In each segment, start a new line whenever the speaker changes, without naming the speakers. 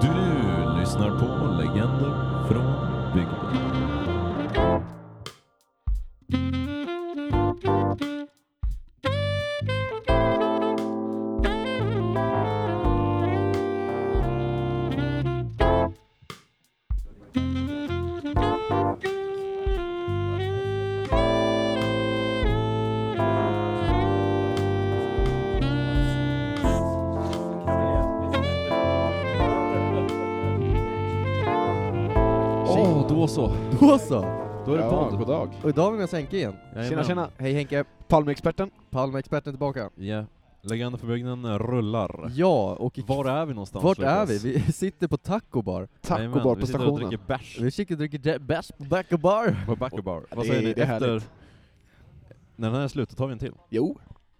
Du lyssnar på Legender från bygden. Åh, då så.
Då så!
Då är det
ja,
podd.
god dag.
Och idag har vi med oss Henke igen.
Jajamän.
Tjena, tjena.
Hej Henke,
Palmeexperten.
Palmeexperten tillbaka.
Ja. Legender för bygden rullar.
Ja, och i-
Var är vi någonstans?
vart är vi?
Lukas?
Vi sitter på Taco Bar.
Jajamän,
Taco bar
vi
på
sitter och
stationen.
dricker bärs
Vi sitter och dricker de- bärs på Taco Bar.
på Backerbar. Vad
det
säger
är-
ni?
det är
Efter...
härligt.
När den här är slut, då tar vi en till.
Jo.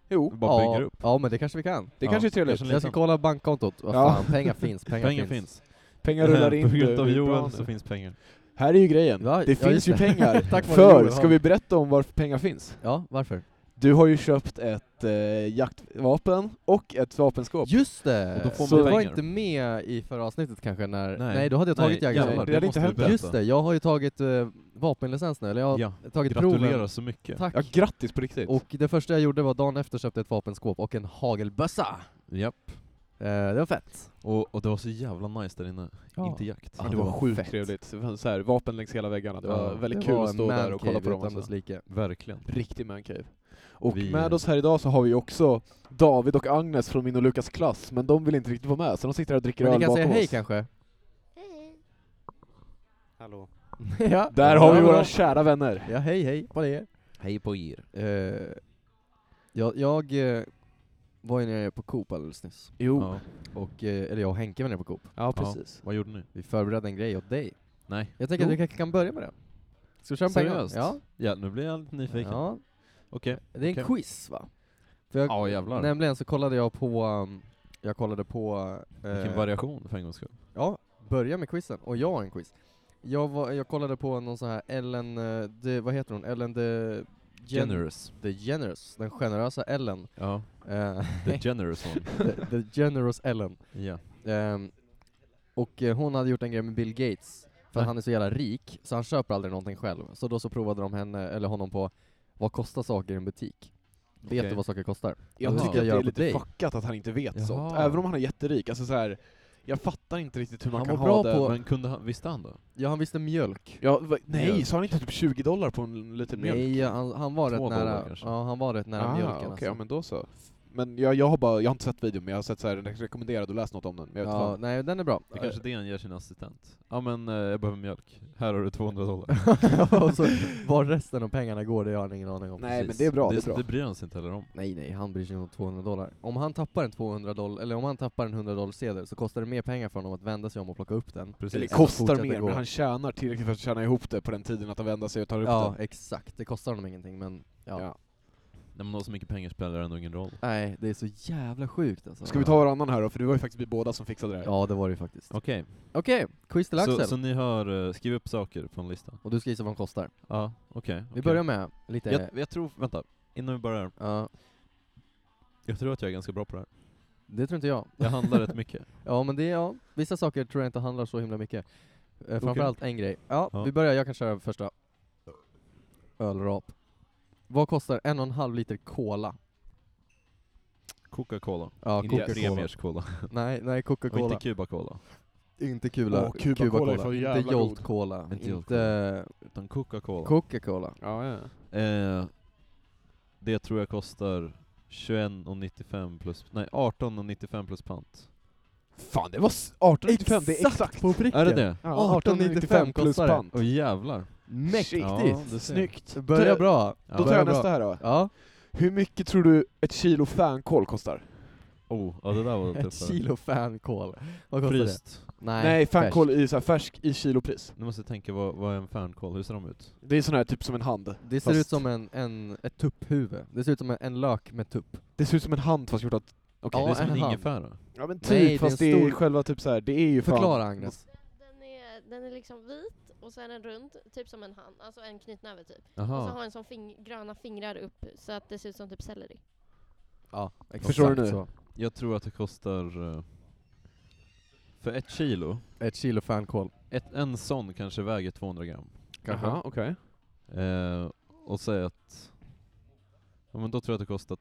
Vi
Jo.
bara
ja,
bygger upp.
ja, men det kanske vi kan.
Det
Ja,
kanske är trevligt.
kanske
Jag ska
Liksom.
kolla bankkontot. Vad
Ja.
fan, pengar finns, pengar,
Pengar finns.
Pengar rullar in.
På grund av
det är bra,
Joel
alltså.
så finns pengar.
Här är ju grejen.
Ja,
det
ja, just
finns ju
det.
pengar.
Tack vare
För,
Joel.
ska vi berätta om varför pengar finns?
Ja, varför?
Du har ju köpt ett eh, jaktvapen och ett vapenskåp.
Just det!
Och då får
så
man
jag var
pengar.
inte med i förra avsnitet kanske när...
Nej.
Nej, då hade jag tagit
Nej,
jägarexamen.
jävlar,
Det hade
måste
inte hänt
vi
än.
berätta.
Just det, jag har ju tagit eh, vapenlicens nu, eller jag har
Ja.
tagit
Gratulerar
proven.
så mycket.
Tack!
Ja, grattis på riktigt.
Och det första jag gjorde var dagen efter köpte jag ett vapenskåp och en hagelbössa.
Japp.
Eh, det var fett.
Och, och det var så jävla nice där inne.
Ja.
Inte jakt.
Ja,
Men det, var, sjukt
fett.
trevligt. Det var så här, vapen längs hela väggarna. Det var
Ja,
väldigt
det
kul
var
att stå
en
där och kolla på
mancave
dem.
utan dess
Alltså.
like.
Verkligen.
Riktig mancave. Och
Vi-
med oss här idag så har vi också David och Agnes från min och Lukas klass, men de vill inte riktigt vara med, så de sitter här och dricker
Men ni
öl
kan
bakom
säga hej
oss.
kanske?
Hallå.
ja.
Där har vi
Ja,
våra
bra.
kära vänner.
Ja, hej hej på er.
Hej på er.
Eh, jag jag eh, var ju nere på Coop alldeles nyss.
Jo.
Ja.
Och, eh, eller jag och Henke var nere på Coop.
Ja,
precis. Vad gjorde ni?
Vi förberedde en grej åt dig.
Nej.
Jag tänker
Jo.
att vi kanske kan börja med det. Ska vi köra en pengar?
Seriöst?
Ja.
Ja, nu blir jag lite nyfiken.
ja.
Okej.
Det är en
Okej.
quiz va? För jag,
Ja, jävlar.
Nämligen så kollade jag på, um, jag kollade på... eh,
Vilken variation för en gångs skull.
Ja, börja med quizen. Och jag har en quiz. Jag, var, jag kollade på någon sån här Ellen, eh, de, vad heter hon? Ellen the... Gen-
Generous.
The Generous. Den generösa Ellen.
Ja,
Eh,
the generous one.
the, the Generous Ellen.
Ja.
Ehm, och eh, hon hade gjort en grej med Bill Gates, för
Nej.
att han är så jävla rik, så han köper aldrig någonting själv. Så då så provade de henne, eller honom på, vad kostar saker i en butik? Vet
Okej.
du vad saker kostar?
Jag
Jaha.
tycker
Jag
att det
gör
är
på
lite
dig.
fuckat att han inte vet
Jaha.
sånt. Även om han är jätterik. Alltså så här, jag fattar inte riktigt hur man
Han
kan
var
ha
bra
det.
på-
Men kunde han, visste han då?
Ja, han visste mjölk.
Ja, va, nej,
Mjölk.
sa han inte typ 20 dollar på en liten mjölk?
Nej, ja, han, han var
Två
rätt
dollar
nära,
kanske.
ja, han var rätt nära
ah,
mjölken
okej,
alltså.
ja, men då så. Men jag, jag, har bara, jag har inte sett videon, men jag har sett så här, den rekommenderad och läst något om den. Men jag vet
Ja,
fan.
nej den är bra.
Det kanske är det han ger sin assistent. Ja men eh, jag behöver mjölk. Här har du 200 dollar.
och så var resten av pengarna går, det har han ingen aning om.
nej men
precis.
det är bra, det,
det,
är bra.
det bryr han sig inte heller om.
Nej nej, han bryr sig inte om 200 dollar. Om han tappar en 200 dollar, eller om han tappar en 100 dollar sedel så kostar det mer pengar för honom att vända sig om och plocka upp den.
Precis.
Eller
så
kostar
fortsätter
mer,
gå.
men han tjänar tillräckligt för att tjäna ihop det på den tiden att han vänder sig och tar upp
Ja,
det.
exakt. Det kostar honom ingenting men ja.
Ja.
När man har så mycket pengar spelar det ändå ingen roll.
Nej, det är så jävla sjukt alltså.
Ska vi ta varannan här då? För det var ju faktiskt vi båda som fixade det här.
Ja, det var det ju faktiskt.
Okej.
Okej, quiz till Axel.
Så, så ni har eh, skrivit upp saker på en lista?
Och du ska gissa vad de kostar.
Ja, okej.
Vi
okej.
börjar med lite...
Jag, jag tror, vänta. Innan vi börjar.
Ja,
Jag tror att jag är ganska bra på det här.
det tror inte jag.
Jag handlar rätt mycket.
Ja men det, ja. Vissa saker tror jag inte handlar så himla mycket. Eh, Framförallt en grej. Ja,
Ja.
vi börjar. Jag kan köra första. Ölrap. Vad kostar en och en halv liter cola?
Coca-Cola.
Ja,
Inte
Coca-Cola.
Premiers Cola.
Nej, nej,
Och
Coca-Cola.
inte Cuba-Cola.
Inte kula.
Åh, Cuba Cola är för jävla
Inte Jolt
god.
Cola.
Inte
Inte,
Jolt Utan Coca-Cola.
Coca-Cola.
Ja, ja.
Eh, det tror jag kostar 21,95 plus, nej 18,95 plus pant.
Fan, det var s- 1895, det är exakt!
på pricken!
Är det det?
Ja, 1895 plus
kostar det.
pant.
Åh jävlar.
Mäktigt!
Ja, det ser jag.
Snyggt!
Börja bra!
Ja.
Då tar
Börja
jag
bra.
nästa här då.
Ja,
Hur mycket tror du ett kilo fänkål kostar?
Oh, ja det där var
ett
tuffare.
kilo fankål. Vad kostar det?
Fryst.
Nej,
Nej, fänkål
färskt.
i så här färsk i kilopris.
Nu måste jag tänka, vad, vad är en fänkål? Hur ser de ut?
Det är sån här typ som en hand.
Det ser
Fast-
ut som en, en, ett tupphuvud. Det ser ut som en, en lök med tupp.
Det ser ut som en hand fast gjort av... Okej.
Ja,
det är som
en
en
hand.
ingefära.
Ja men typ,
Nej, det är
fast
en
det är
stor-
själva typ så här. det är ju fan...
Förklara Agnes.
Den är, den är liksom vit och så är den rund, typ som en hand, alltså en knytnäve typ. Och så
Jaha.
har den som fing- gröna fingrar upp så att det ser ut som typ selleri.
Ja, exakt
Förstår du nu?
så.
Jag tror att det kostar eh, För ett kilo,
Ett kilo fänkål.
ett, en sån kanske väger 200 gram.
Kanske.
Jaha, okej.
Eh, och säg att... Ja men då tror jag att det kostar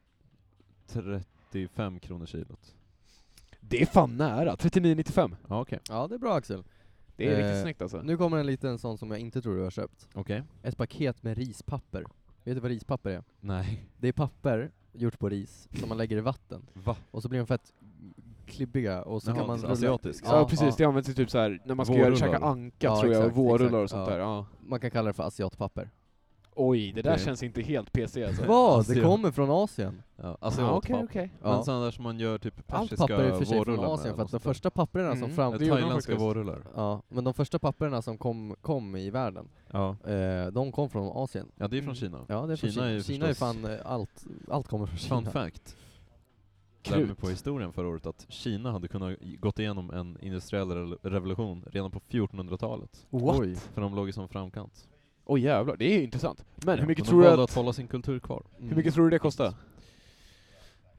35 kronor kilot.
Det är fan nära, 39,95.
Ja okej.
Ja, det är bra Axel.
Det är riktigt
Eh,
snyggt alltså.
Nu kommer en liten sån som jag inte tror du har köpt.
Okej.
Ett paket med rispapper. Vet du vad rispapper är?
Nej.
Det är papper gjort på ris som man lägger i vatten.
Va?
Och så blir de fett klibbiga och så
Jaha,
kan man
så
rulla...
asiatisk.
Ja, precis, det används ju typ så här när man ska göra,
Vårrullar.
käka anka
Ja,
tror jag,
exakt,
vårrullar
exakt,
och sånt
ja.
där. Ja.
Man kan kalla det för asiatpapper.
Oj, det där
Okej.
känns inte helt PC alltså.
Vad? Det
Asiat.
kommer från Asien.
Ja,
Ja,
asiatpapper.
okej, okej.
Men
Ah, Ja.
sådana där som man gör typ
Allt
persiska
papper är i och för sig från
vårrullar med
Asien för
och
att de
sånt där.
första papperna som
Mm.
fram...
Det gjorde de
Thailändska
faktiskt.
vårrullar.
Ja, men de första papperna som kom, kom i världen,
Ja.
eh, de kom från Asien.
ja, det är
Mm.
från Kina.
Ja, det är
Kina
från
är
Kina.
ju
Kina är
förstås-
fan eh, allt, allt kommer från Kina.
Fun fact.
Krut.
Lärde mig på historien förra året att Kina hade kunnat gått igenom en industriell re- revolution redan på 1400-talet.
What? Oj,
Oj.
För de låg i som framkant.
jävlar, det är ju intressant. Men
Ja,
hur mycket
de
tror du
valde
att...
att hålla sin kultur kvar.
Mm.
Hur mycket tror du det kostar?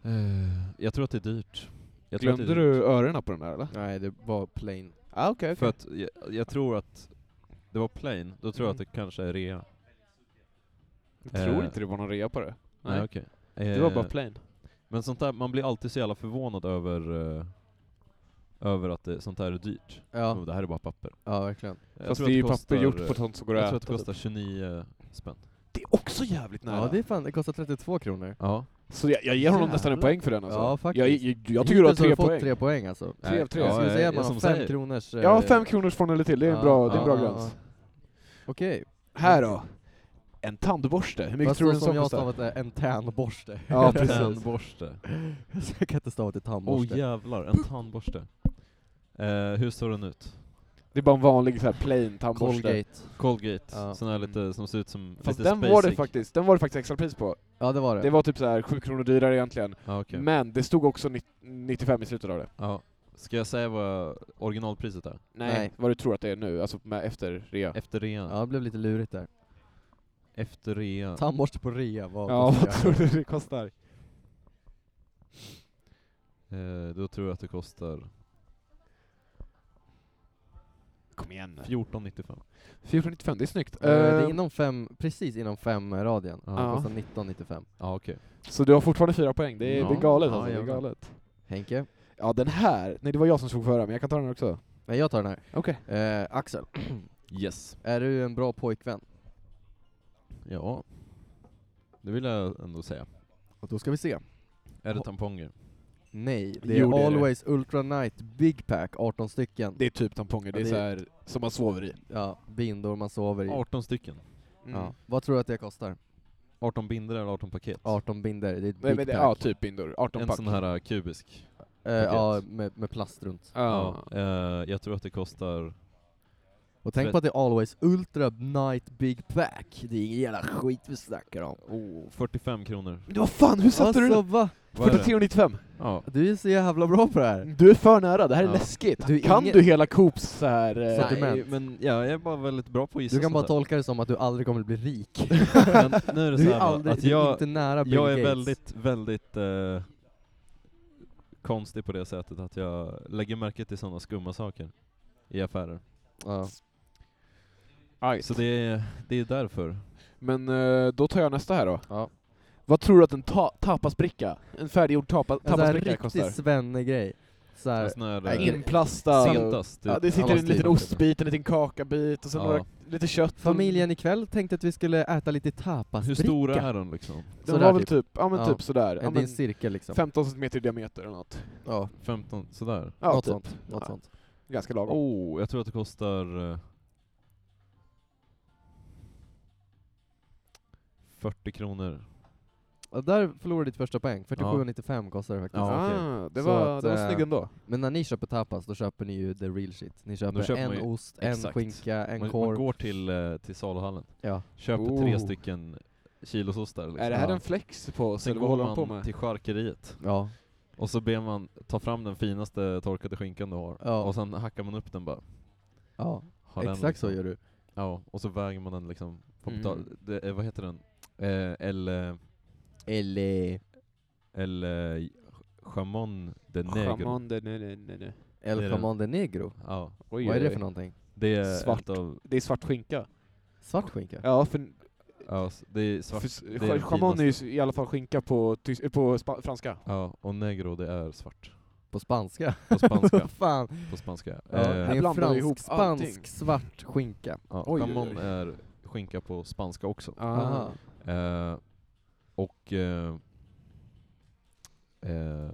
Eh, jag tror att det är dyrt. Jag tror att det
Glömde
är dyrt.
du öronen på den där eller?
Nej, det var plain.
Ah, okej,
För att jag, jag tror att det var plain, då tror jag
Mm.
att det kanske är rea.
Jag tror
eh,
inte det var någon rea på det.
Nej,
Nej.
okej.
Det var
Eh,
bara plain.
Men sånt där, man blir alltid så jävla förvånad över eh, över att det, sånt här är dyrt.
Ja,
Oh, det här är bara papper.
ja verkligen.
Jag
Fast
tror
det är
att
ju papper gjort
kostar,
på
eh,
sånt som går
Jag
att
tror att det kostar
äta.
29 spänn.
Det är också jävligt nära.
Ja, det är fan, det kostar 32 kronor.
Ja.
Så jag, jag ger honom nästan en
Jävlar.
poäng för den alltså.
Ja, faktiskt.
Jag, jag, jag tycker du har
Hittills
tre
fått
poäng.
tre poäng alltså.
Tre av tre.
Jag
Ja,
skulle säga att man
som
har
säger.
fem kronors... eh,
Ja, fem kronors från eller till, det är en
ja,
bra, det är en bra
ja,
gräns.
ja. Okej.
Här då. En tandborste, hur mycket
Fast
tror
så
du en
som
sån
jag har
kostar?
stavat är en tandborste.
Ja, precis.
Tandborste.
Så jag kan inte stava till
Åh
tandborste.
oh, jävlar, en tandborste. Eh, hur såg den ut?
Det är bara en vanlig så här plain tandborste.
Colgate.
Colgate,
Ja.
sån här lite som ser ut som
Fast
lite
den
basic.
var, det faktiskt, den var det faktiskt extra pris på.
Ja, det var det.
Det var typ så här 7 kronor dyrare egentligen.
Ja, okej.
Men det stod också nitt- 95 i slutet av det.
Ja. Ska jag säga vad originalpriset är?
Nej.
Vad du tror att det är nu, alltså med efter rea.
Efter rea.
Ja, det blev lite lurigt där.
Efter rea.
Tandborste på rea var...
ja, vad tror du det kostar?
Eh, då tror jag att det kostar
Kom igen
14,95.
495, det är snyggt.
Eh, det är
Eh,
inom fem, precis inom fem eh, radien.
Ja.
Det
Ja.
kostar 19,95.
Ja okej.
Så du har fortfarande fyra poäng, det är, det
Ja.
är galet
Ja,
alltså. det är
jävlar.
galet.
Henke?
Ja, den här. Nej, det var jag som såg förra, men jag kan ta den också.
Nej, jag tar den
Okej.
här. Eh, Axel,
Yes.
är du en bra pojkvän?
Ja. Det vill jag ändå säga.
Och då ska vi se.
Är det
Ja.
tamponger?
Nej, det är
Jo, det är det.
Always Ultra Night Big Pack, 18 stycken.
Det är typ tamponger, det är
Ja, det- Mm.
så här som man sover i.
Ja, bindor man sover i.
18 stycken.
mm.
Ja. Vad tror du att det kostar?
18 bindor eller 18 paket?
18 binder, det är ett
Nej,
Big
men det,
Pack.
ja, typ bindor. 18
En
pack.
sån här eh, kubisk.
Eh, ja, med, med plast runt.
Ja.
Eh, jag tror att det kostar...
Och tänk på att det är Always Ultra Night Big Pack. Det är ingen jävla skit vi snackar om.
Oh, 45 kronor.
Men Vad fan, hur satte du
Alltså
den?
va?
Vad är det?
43,95.
Ja.
Du är så jävla bra på det här. Eh,
Du är för nära, det här är
Ja.
läskigt.
Du är
kan
ingen-
du hela Coops så här... eh,
Så- Sortiment.
men ja, jag är bara väldigt bra på att gissa
Du kan bara
sånt
tolka det som att du aldrig kommer bli rik.
här. Men nu är det
Du
så
är,
här va,
aldrig,
att
du är
jag,
inte nära Bill
jag är
Gates.
väldigt, väldigt eh, konstig på det sättet att jag lägger märke till sådana skumma saker i affärer.
Ja.
Ajt.
Så det är, det är
Äh,
därför.
Men eh, då tar jag nästa här då.
Ja.
Vad tror du att en ta- tapasbricka, en färdiggjord tapa-
Alltså, En sån här
tapasbricka kostar?
riktig svennegrej. Så här,
En sån här,
Nej,
eh,
ingen-
Inplastad.
Sentas, typ.
äh, Ja, det sitter
Ja,
en liten
typ.
ostbit, en liten kakabit och sen
Ja.
några, lite kött. och-
familjen ikväll tänkte att vi skulle äta lite tapasbricka.
Hur stora är de liksom?
Den
Sådär
var väl
typ.
typ, ja men
Ja.
typ sådär. Ja,
Det är
men
en cirkel liksom.
15 centimeter i diameter eller något.
Ja,
15, sådär?
Ja,
något
typ.
sånt. Något
Ja.
sånt.
Ganska lagom.
Oh, jag tror att det kostar... eh, 40 kronor.
Ja, där förlorade ditt första poäng.
Ja.
47,95 kostar det faktiskt.
Ja, okej.
ah, det
Så
var,
att,
det var
eh,
snygg ändå.
Men när ni köper tapas, då köper ni ju the real shit. Ni köper,
köper man
en
ju-
ost, en
exakt.
skinka, en
Man, man
korv.
går till, eh, till saluhallen,
ja.
köper
Oh.
tre stycken kilosostar liksom.
Är det här
Ja.
en flex på oss,
Sen
eller vad
går
håller han på
man typ?
med?
till charkeriet,
Ja.
och så ber man ta fram den finaste torkade skinkan du har,
Ja.
och sen hackar man upp den bara.
ja.
Har den
Exakt
liksom.
så gör du.
Ja, och så väger man den liksom, på
Mm.
betal- det, är- vad heter den? Eh, eller,
Eller...
eller Chamon de Negro.
Chamon de- nej, nej, nej, nej.
El
Det är den.
Comande Negro.
Ja.
Oj,
Vad är det
oj,
för
oj.
någonting?
Det är
Svart.
ett av...
Det är svart skinka.
Svart skinka?
Ja, för,
Ja, s- det är svart.
för
är
scha-
den
schaman är ju i alla fall skinka på, tys- eh, på spa- franska.
Ja, och negro det är svart.
På spanska?
På spanska.
Fan.
på spanska.
Ja,
Eh,
det är
här
en
blandar vi ihop
fransk-spansk
allting.
svart skinka.
ja,
oj, oj,
jamon
oj.
är skinka på spanska också.
Aha.
Ah.
Eh, och... Eh, eh,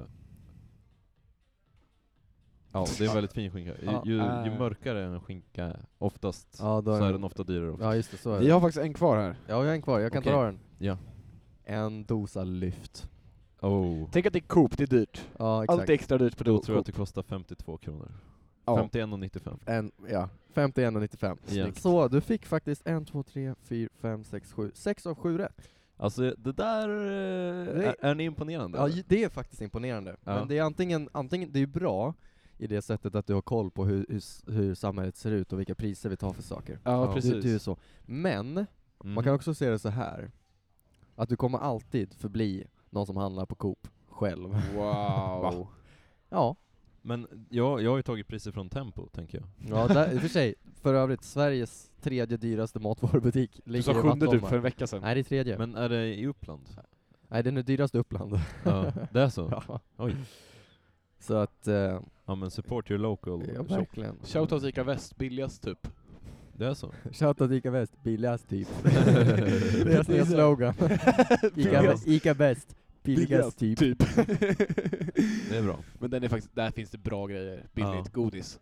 ja, det är en väldigt fin skinka. Ju,
Ja,
ju, ju
eh.
mörkare en skinka oftast,
Ja, då
så
är
är
den-
den ofta dyrare. Också.
Ja just det, så är det.
Vi har faktiskt en kvar här.
Ja, jag har en kvar, jag kan
Okej.
dra den.
Ja.
En dosa lyft.
Oh.
Tänk att det är Coop, det är dyrt.
Ja,
Allt
exakt.
är extra dyrt på
Då
Coop.
tror jag att det kostar 52 kronor.
ja.
51,95.
En, ja, 51,95.
Ja.
Snyggt. Så, du fick faktiskt en, två, tre, fyra, fem, sex, sju, sex av sju rätt.
Alltså det där...
Det-
Eh, är, är ni imponerande?
Ja,
eller?
ju- det är faktiskt imponerande.
Ja.
Men det är antingen, antingen, det är ju bra i det sättet att du har koll på hur, hur, s- hur samhället ser ut och vilka priser vi tar för saker.
Ja,
Ja.
precis.
Det, det är ju så. Men,
Mm.
man kan också se det så här att du kommer alltid förbli någon som handlar på Coop själv.
Wow.
Ja.
Men jag, jag har ju tagit priser från Tempo, tänker jag.
Ja, där, i och för sig. För övrigt, Sveriges tredje dyraste matvarubutik
Du
ligger
sa
i
sjunde typ
Vattholma.
för en vecka sedan.
Nej, det är tredje.
Men är det i Uppland?
Nej, den är dyrast i Uppland.
Ja, det är så?
Ja.
Oj.
Så att, eh,
Ja men support your local
ja,
shop.
verkligen.
Shoutout Ica Väst, billigast typ.
Det är så?
Shoutout Ica Väst, billigast typ. Deras nya slogan. Ica,
Billigast.
Ica Väst, billigast typ.
typ.
Det är bra.
Men den är faktiskt, där finns det bra grejer. Billigt,
Ja.
godis.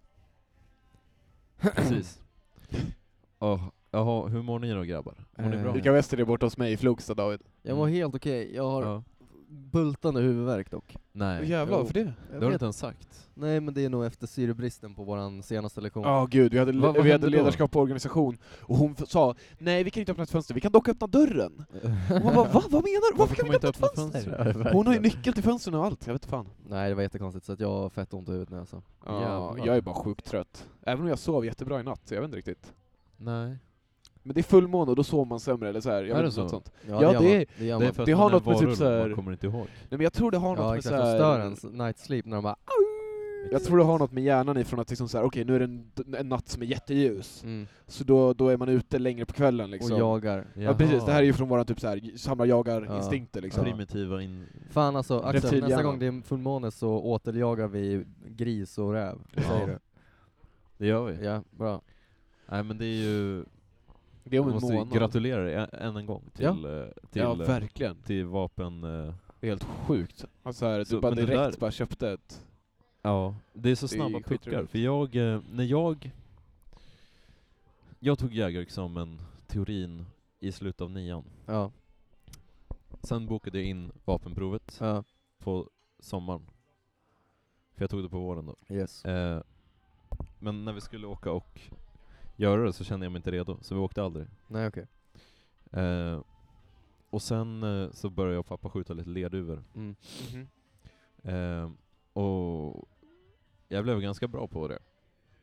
Precis. Oh, jaha, hur mår ni då grabbar? Mår ni
Eh,
bra?
Ica Väst är det borta hos mig i Flogsta David.
Jag mår helt okej, jag har
Ja.
bultande huvudvärk dock.
Nej,
jävlar,
Jo.
för det?
det har du inte ens sagt.
Nej men det är nog efter syrebristen på våran senaste lektion.
Ja gud, vi hade,
Vad- vad
vi
hände
hade
då?
ledarskap på organisation och hon f- sa nej vi kan inte öppna ett fönster, vi kan dock öppna dörren. Och man bara va? Vad menar du? Varför kan vi inte öppna ett fönster? Hon har ju nyckel till fönstren och allt, jag vet fan.
Nej det var jättekonstigt så att jag har fett ont i huvudet nu alltså.
Ja,
Jävlar.
jag är bara sjukt trött. Även om jag sov jättebra i natt, så jag vet inte riktigt.
Nej.
Men det är fullmåne och då sover man sämre eller så här. Jag
Är
vet
det
inte,
så?
något sånt.
Ja,
Ja,
gör
det
man.
är-
det gör
Det
man.
är för
det
att
har
man är
något med typ
varulv,
så här-
man kommer inte ihåg.
Nej men jag tror det har något
Ja
med
exakt,
så här-
de liksom stör ens night sleep när de bara
Jag tror det har något med hjärnan ifrån att liksom så här, okej nu är det en, en natt som är jätteljus,
mm,
så då, då är man ute längre på kvällen
och
liksom.
jagar.
Ja precis, det här är ju från våra typ såhär samlar-jagar-instinkter liksom.
Primitiva in...
Fan alltså Axel, nästa
Reptilhjärnan.
gång det är fullmåne så återjagar vi gris och räv. Vad säger
Ja. Det gör vi.
du? Ja, bra.
Nej men det är ju...
Det är om
Jag
en
måste ju
månad.
gratulera dig ä- än en gång till,
Ja.
eh, till,
ja
eh,
verkligen.
till vapen... eh,
Det är helt sjukt. Alltså här, du
Så,
bara
men det
direkt
där-
bara köpte ett...
Ja, det är så
Det är
snabba
ju
puckar.
skitroligt.
För jag, eh, när jag... Jag tog jägarexamen, teorin, i slutet av nian.
Ja,
Sen bokade jag in vapenprovet
ja.
på sommaren. För jag tog det på våren då.
Yes.
Eh, men när vi skulle åka och göra det så kände jag mig inte redo, så vi åkte aldrig.
Nej okej.
Eh, och sen eh, så började jag och pappa skjuta lite lerduvor.
Mm.
Eh, och jag blev ganska bra på det.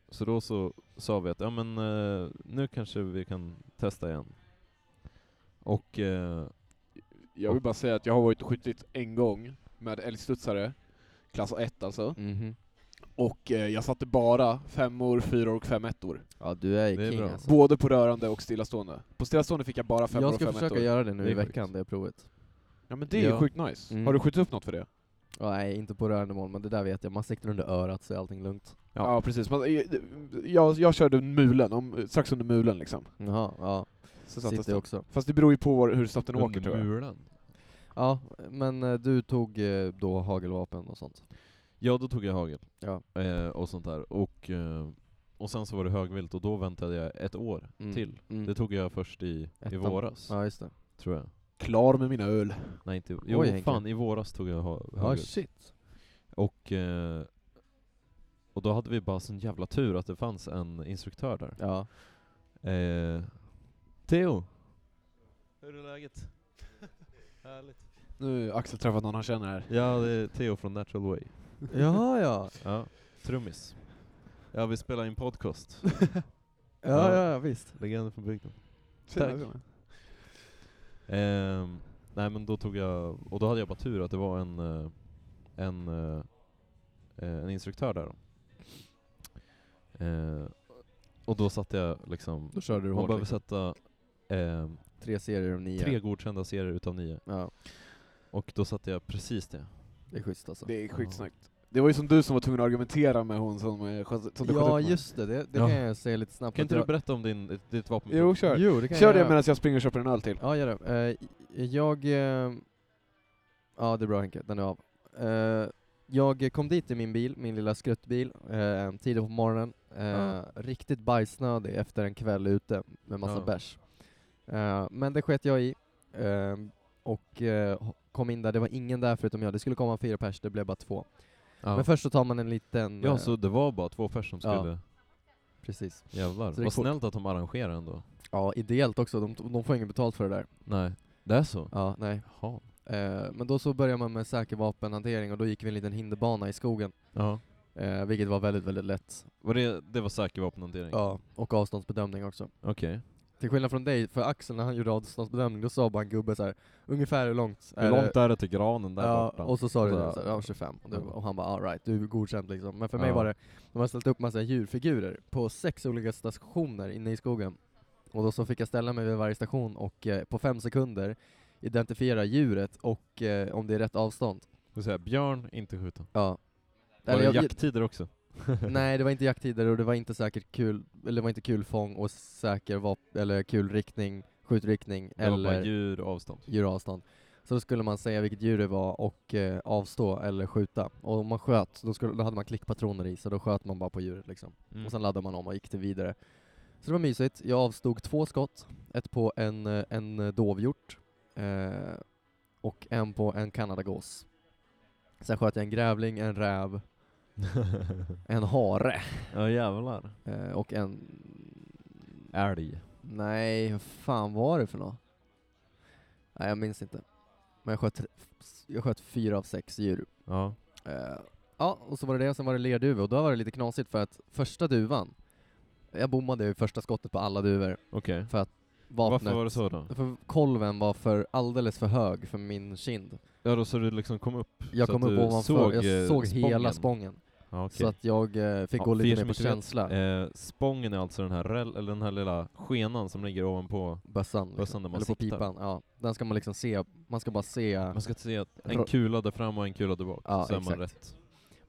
Så då så sa vi att ja, men, eh, nu kanske vi kan testa igen. Och eh,
Jag vill bara säga att jag har varit och skjutit en gång med älgstudsare, klass 1 alltså,
Mhm.
och eh, jag satte bara femmor, fyror och fem ettor.
Ja du är ju
Det är
king
bra.
alltså.
Både på rörande och stillastående. På stillastående fick jag bara femmor
Jag
och
ska
fem
försöka
ettor.
göra det nu
Det är
i veckan,
sjukt.
det provet.
Ja men det är ju
Ja.
sjukt nice.
Mm.
Har du skjutit upp något för det?
Ja, nej, inte på rörande mål, men det där vet jag. Man siktar under örat så är allting lugnt.
Ja, precis. Man, eh, jag, jag körde mulen, om, strax under mulen liksom.
Jaha, ja.
Så sattes
Sitter
det.
jag också.
Fast det beror ju på var, hur snabbt den åker
under
tror jag.
muren.
Ja, men eh, du tog eh, då hagelvapen och sånt?
Ja, då tog jag hagel.
Ja.
Eh, och sånt där. Och, eh, och sen så var det högvilt och då väntade jag ett år
Mm.
till.
Mm.
Det tog jag först i, i
Ettan.
våras,
Ja, just det.
tror jag.
Klar med mina öl.
Nej, inte Jo,
Oj, Henke.
fan, i våras tog jag ha-
Ja,
högvilt.
shit.
Och, eh, och då hade vi bara sån jävla tur att det fanns en instruktör där.
Ja.
Eh, Theo! Hur är läget? Härligt.
Nu har Axel träffat någon han känner här.
Ja, det är Theo från Natural Way.
Jaha, ja.
Ja, trummis. Ja, vi spelar in podcast.
Ja, ja, ja, visst.
Legenden från bygden.
Tjena,
Tack.
tjena.
Ehm, nej men då tog jag, och då hade jag bara tur att det var en, eh, en, eh, eh, en instruktör där. då. Eh, och då satte jag liksom...
Då körde du
Man
hårt.
behöver
liksom.
sätta eh,
Tre serier om nio.
tre godkända serier utav nio.
Ja,
Och då satte jag precis det.
det är schysst alltså.
Det är
Ja.
sjukt snyggt. Det var ju som du som var tvungen att argumentera med hon som, eh, sköt- som du sköt
ja,
upp med.
just det. Det, det
Ja.
kan jag säga lite snabbt.
Kan inte
att
du
jag-
berätta om din, ditt vapenprov?
Jo, kör.
Jo, det kan
Kör
jag
det
göra.
medan jag springer och köper en öl till.
Ja, gör det. Eh, jag... eh, ja, det är bra Henke, den är av. Eh, jag kom dit i min bil, min lilla skruttbil, eh, tidigt på morgonen. Eh,
Ja.
Riktigt bajsnödig efter en kväll ute med massa
Ja.
bärs. Eh, men det sket jag i. Eh, och eh, ho- kom in där, det var ingen där förutom jag. Det skulle komma fyra pers, det blev bara två.
Ja.
Men först så tar man en liten... eh,
ja, så det var bara två personer som
Ja.
skulle...
Precis.
Jävlar.
Så det är
Vad
fort.
snällt att de arrangerar ändå.
Ja, ideellt också. De, de får inget betalt för det där.
Nej. Det är så?
Ja, nej.
Jaha.
Eh, men då så började man med säker vapenhantering och då gick vi en liten hinderbana i skogen.
Ja.
Eh, vilket var väldigt, väldigt lätt.
Var det, det var säker vapenhantering?
Ja. Och avståndsbedömning också.
Okej.
Till skillnad från dig, för Axel när han gjorde avståndsbedömning, då sa bara en gubbe så här, ungefär hur långt
Hur långt är det till granen där
ja,
borta?
och så sa du
Och så-
så här, ja, 25, och, det,
Ja.
och han bara alright, du är godkänd liksom. Men för mig
Ja.
var det, de har ställt upp massa djurfigurer på sex olika stationer inne i skogen. Och då så fick jag ställa mig vid varje station och eh, på fem sekunder identifiera djuret och eh, om det är rätt avstånd.
Du säger björn, inte skjuta.
Ja.
Var
Eller
det
jag-
jakttider också?
Nej, det var inte jakttider och det var inte säkert kul, eller det var inte kul fång och säker vap- eller kul riktning, skjutriktning
Det var bara
eller
djur och avstånd?
djuravstånd. Så då skulle man säga vilket djur det var och eh, avstå eller skjuta. Och om man sköt, då, skulle, då hade man klickpatroner i, så då sköt man bara på djuret liksom.
Mm.
Och sen laddade man om och gick till vidare. Så det var mysigt. Jag avstod två skott, ett på en, eh, en dovhjort eh, och en på en kanadagås. Sen sköt jag en grävling, en räv, en hare.
ja jävlar.
Eh, och en...
Älg.
Nej, vad fan var det för något? Nej, jag minns inte. Men jag sköt, jag sköt fyra av sex djur.
Ja.
Eh, ja, och så var det det, sen var det lerduva och då var det lite knasigt för att första duvan, jag bommade ju första skottet på alla duvor.
Okej.
Vapnet,
Varför var det så då?
För kolven var för alldeles för hög för min kind.
Ja, då så du liksom kom upp?
Jag
Så
kom
att
upp
du
ovanför,
såg, eh,
jag såg
spången.
hela spången.
Ja, okej.
Så att jag eh, fick
Ja,
gå
för er
lite
som
mer på
inte vet,
känsla.
Eh, spången är alltså den här, rel- eller den här lilla skenan som ligger ovanpå
bössan. Liksom.
bössan där man
Eller på
siktar.
pipan, ja. Den ska man liksom se, man ska bara se.
Man ska se att en
Ro-
kula där fram och en kula där bak,
Ja,
så är man
exakt.
rätt.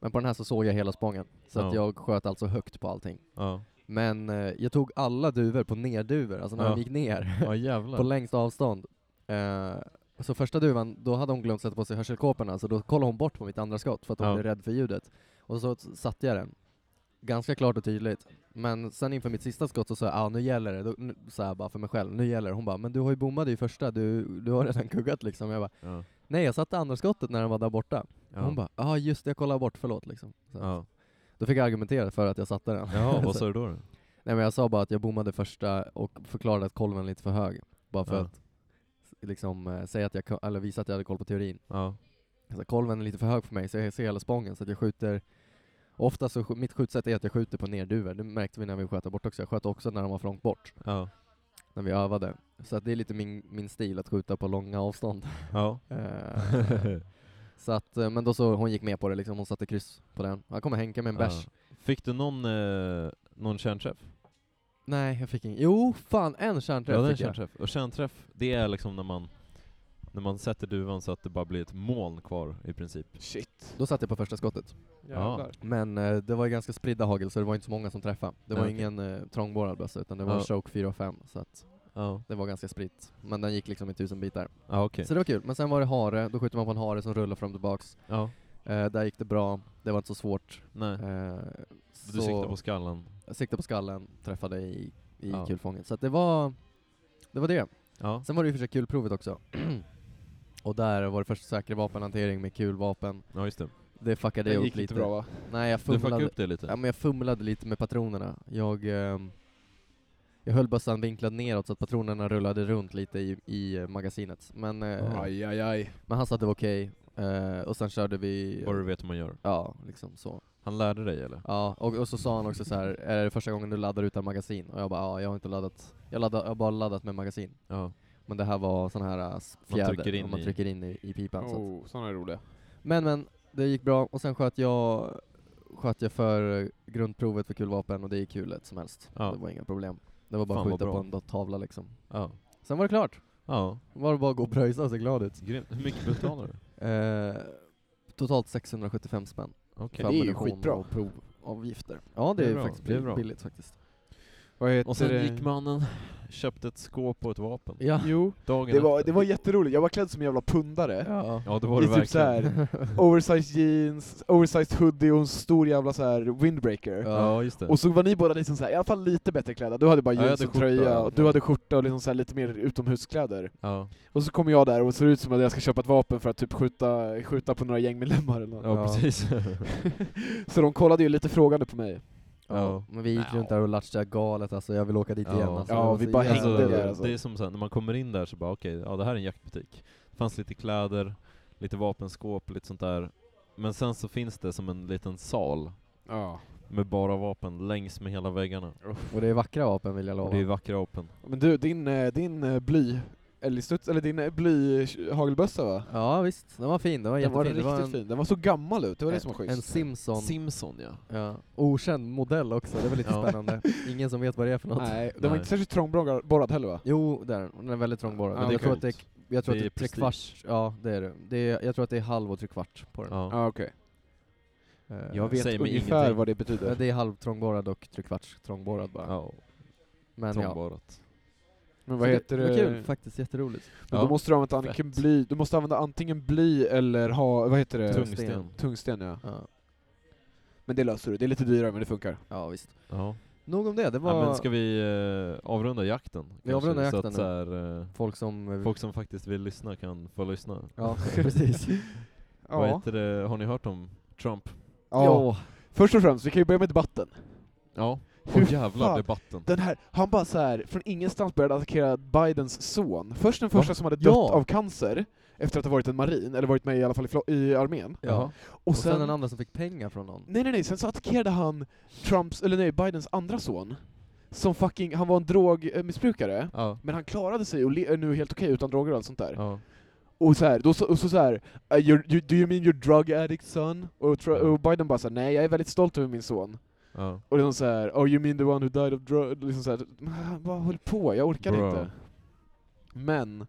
Men på den här så såg jag hela spången. Så att
Ja.
jag sköt alltså högt på allting.
Ja,
Men eh, jag tog alla duvor på nerduvor, alltså när
Ja.
de gick ner.
ja
på
jävlar.
längst avstånd. Eh, så första duvan, då hade hon glömt sätta på sig hörselkåporna, så då kollade hon bort på mitt andra skott för att hon
Ja.
blev rädd för ljudet. Och så s- satte jag den. Ganska klart och tydligt. Men sen inför mitt sista skott så sa jag ah, nu gäller det, då, nu, så här bara för mig själv, nu gäller det. Hon bara, men du har ju bommat i första, du, du har redan kuggat liksom. Jag bara,
Ja.
nej jag satte andra skottet när den var där borta.
Ja.
Hon bara, ah, just det, jag kollade bort, förlåt liksom. Så,
Ja.
Då fick jag argumentera för att jag satte den.
Jaha, vad
Så-
sa du då? då?
Nej men jag sa bara att jag bommade första och förklarade att kolven är lite för hög. Bara för
Ja.
att liksom eh, säga att jag, ko- eller visa att jag hade koll på teorin.
Ja.
Alltså, kolven är lite för hög för mig så jag ser hela spången så att jag skjuter Ofta så, sk- mitt skjutsätt är att jag skjuter på nerduvor, det märkte vi när vi sköt där bort också. Jag sköt också när de var för långt bort,
Ja.
när vi övade. Så att det är lite min, min stil att skjuta på långa avstånd.
ja.
Eh, så att, eh, men då så, hon gick med på det liksom, hon satte kryss på den. Här kommer Henke med en bärs.
Ja. Fick du någon, eh, någon kärnträff?
Nej, jag fick ingen. Jo, fan en kärnträff
Ja, det är en
fick jag.
kärnträff. Och kärnträff, det är liksom när man, när man sätter duvan så att det bara blir ett moln kvar i princip.
Shit.
Då satte jag på första skottet.
Jävlar.
Men eh, det var ju ganska spridda hagel så det var inte så många som träffade. Det
Nej,
var
okej.
ingen eh, trångborrad bössa utan det var
Ja.
en choke 4 och 5 så att
Ja,
det var ganska spritt. Men den gick liksom i tusen bitar.
ja okej.
Så det var kul. Men sen var det hare, då skjuter man på en hare som rullar fram och tillbaks.
Ja,
Eh, där gick det bra, det var inte så svårt.
nej.
Eh,
Du
så
siktar på skallen.
jag siktade på skallen, träffade i, i
Ja.
kulfånget. Så att det var det var det.
Ja.
Sen var det ju för sig kulprovet också. och där var det först säker vapenhantering med kulvapen.
ja, just det.
Det fuckade
Det
jag
gick
upp
inte
lite.
bra va?
Nej jag
Du fuckade
fumlade.
upp det lite.
Ja, men jag fumlade lite med patronerna. Jag, ehm, jag höll bössan vinklad neråt så att patronerna rullade runt lite i, i eh, magasinet. Men, eh,
Aj, aj, aj.
men han sa att det var okej. Eh, och sen körde vi...
Bara du vet hur man gör.
Ja, liksom så.
Han lärde dig eller?
Ja, och, och så sa han också så här, är det första gången du laddar utan magasin? Och jag bara, ja, jag har inte laddat. Jag, laddar, jag har bara laddat med magasin.
Ja.
Men det här var sån här eh, fjäder
trycker in
och man
i- Oh.
trycker in i, i pipan. Så att,
Oh, såna är roliga.
men men, det gick bra och sen sköt jag sköt jag för eh, grundprovet för kulvapen och det gick hur lätt som helst.
Ja.
Det var inga problem. Det var bara
Fan,
att
vad
skjuta på
bra.
en tavla liksom.
Ja.
Sen var det klart.
Ja.
Det var det bara att gå och pröjsa och se glad ut.
Grymt. Hur mycket betalar du?
Eh, totalt 675 spänn.
Okej.
för
Det är ju
ammunition
skitbra.
Och provavgifter. Ja det,
Det är
är,
bra,
faktiskt
det är
billigt,
bra.
billigt faktiskt.
Vad heter
Och sen
det?
gick mannen, köpte ett skåp och ett vapen.
Ja.
Jo,
Dagen
det var,
efter.
det var jätteroligt. Jag var klädd som en jävla pundare.
ja.
Ja, det var
I
det
typ
verkligen.
så här- Oversized jeans, oversized hoodie och en stor jävla så här windbreaker.
Ja, just det.
Och så var ni båda liksom så här, i alla fall lite bättre klädda. Du hade bara
Ja, jag
jeans
hade
och
skjorta.
tröja, och du hade skjorta och liksom så här lite mer utomhuskläder.
ja.
Och så kommer jag där och ser ut som att jag ska köpa ett vapen för att typ skjuta, skjuta på några gängmedlemmar eller något.
ja, precis.
Så de kollade ju lite frågande på mig.
ja. Men vi gick runt där och latchade galet alltså, jag vill åka dit
Ja.
igen alltså.
Ja,
Det var
vi
så
bara
jävla
alltså,
hängde
kul.
där. alltså.
Det är som så här, när man kommer in där så bara okej, ja det här är en jaktbutik. Det fanns lite kläder, lite vapenskåp, lite sånt där. Men sen så finns det som en liten sal
Ja.
med bara vapen längs med hela väggarna.
Och det är vackra vapen vill jag lova.
Och det är vackra vapen.
Men du, din, eh, din eh, bly älgstuds, eller din eh, bly hagelbössa va?
Ja visst, den var fin, den var
Den
jättefin.
var
Det
riktigt
en,
fin, den var så gammal ut, det var det som var
en
schysst.
Simpson,
Simson ja.
ja. okänd modell också, det var lite
Ja.
spännande. Ingen som vet vad det är för något.
Nej, den
Nej.
var inte särskilt trångborrad heller va?
Jo, det är den. Den är väldigt trångborrad.
Ja,
Men
det
jag
är
tror att
coolt.
det är, jag tror
Det
att det
är
är trekvarts, ja det är det. det är, jag tror att det är halv och trekvart på den.
ja.
Ja okej.
Eh,
Jag vet Säger mig
ungefär
ingenting.
vad det
Ja,
betyder.
det är halvtrångborrad och trekvarts trångborrad bara.
ja.
Men ja.
Trångborrat.
Men vad
Så
heter
det? var
det?
Kul, faktiskt jätteroligt.
Men
Ja.
då måste du använda antingen
Fett.
bly, du måste använda antingen bly eller ha, vad heter det?
Tungsten.
Tungsten ja.
Ja,
Men det löser du, det är lite dyrare men det funkar.
ja visst.
Ja.
Nog om det, det var
ja. Men ska vi eh, avrunda jakten? kanske?
avrundar
så
jakten
att
nu.
så här, eh,
folk som... eh,
folk som faktiskt vill lyssna kan få lyssna.
Ja, precis.
Vad
Ja.
heter det? Har ni hört om Trump?
ja. Först och främst, vi kan ju börja med debatten.
Ja.
Hur
Och jävlar
fan?
debatten.
Den här, han bara så här från ingenstans började attackera Bidens son. Först den
Va?
första som hade dött
Ja.
av cancer, efter att ha varit en marin, eller varit med i alla fall i, flo- i armén.
Ja.
Jaha.
Och,
Och sen,
sen,
den andra som fick pengar från någon.
nej nej nej, sen så attackerade han Trumps, eller nej, Bidens andra son. Som fucking, han var en drogmissbrukare.
Ja.
Men han klarade sig och le- är nu helt okej utan droger och allt sånt där.
Ja.
Och så här, då så, och så, så här, "Uh, you're, you, do you mean your drug addict son? Och, tr-
Ja.
och Biden bara så här, nej jag är väldigt stolt över min son.
Ja.
Och liksom så här, oh you mean the one who died of drug, liksom så här, men han bara höll på, jag orkar
Bro.
inte. Men,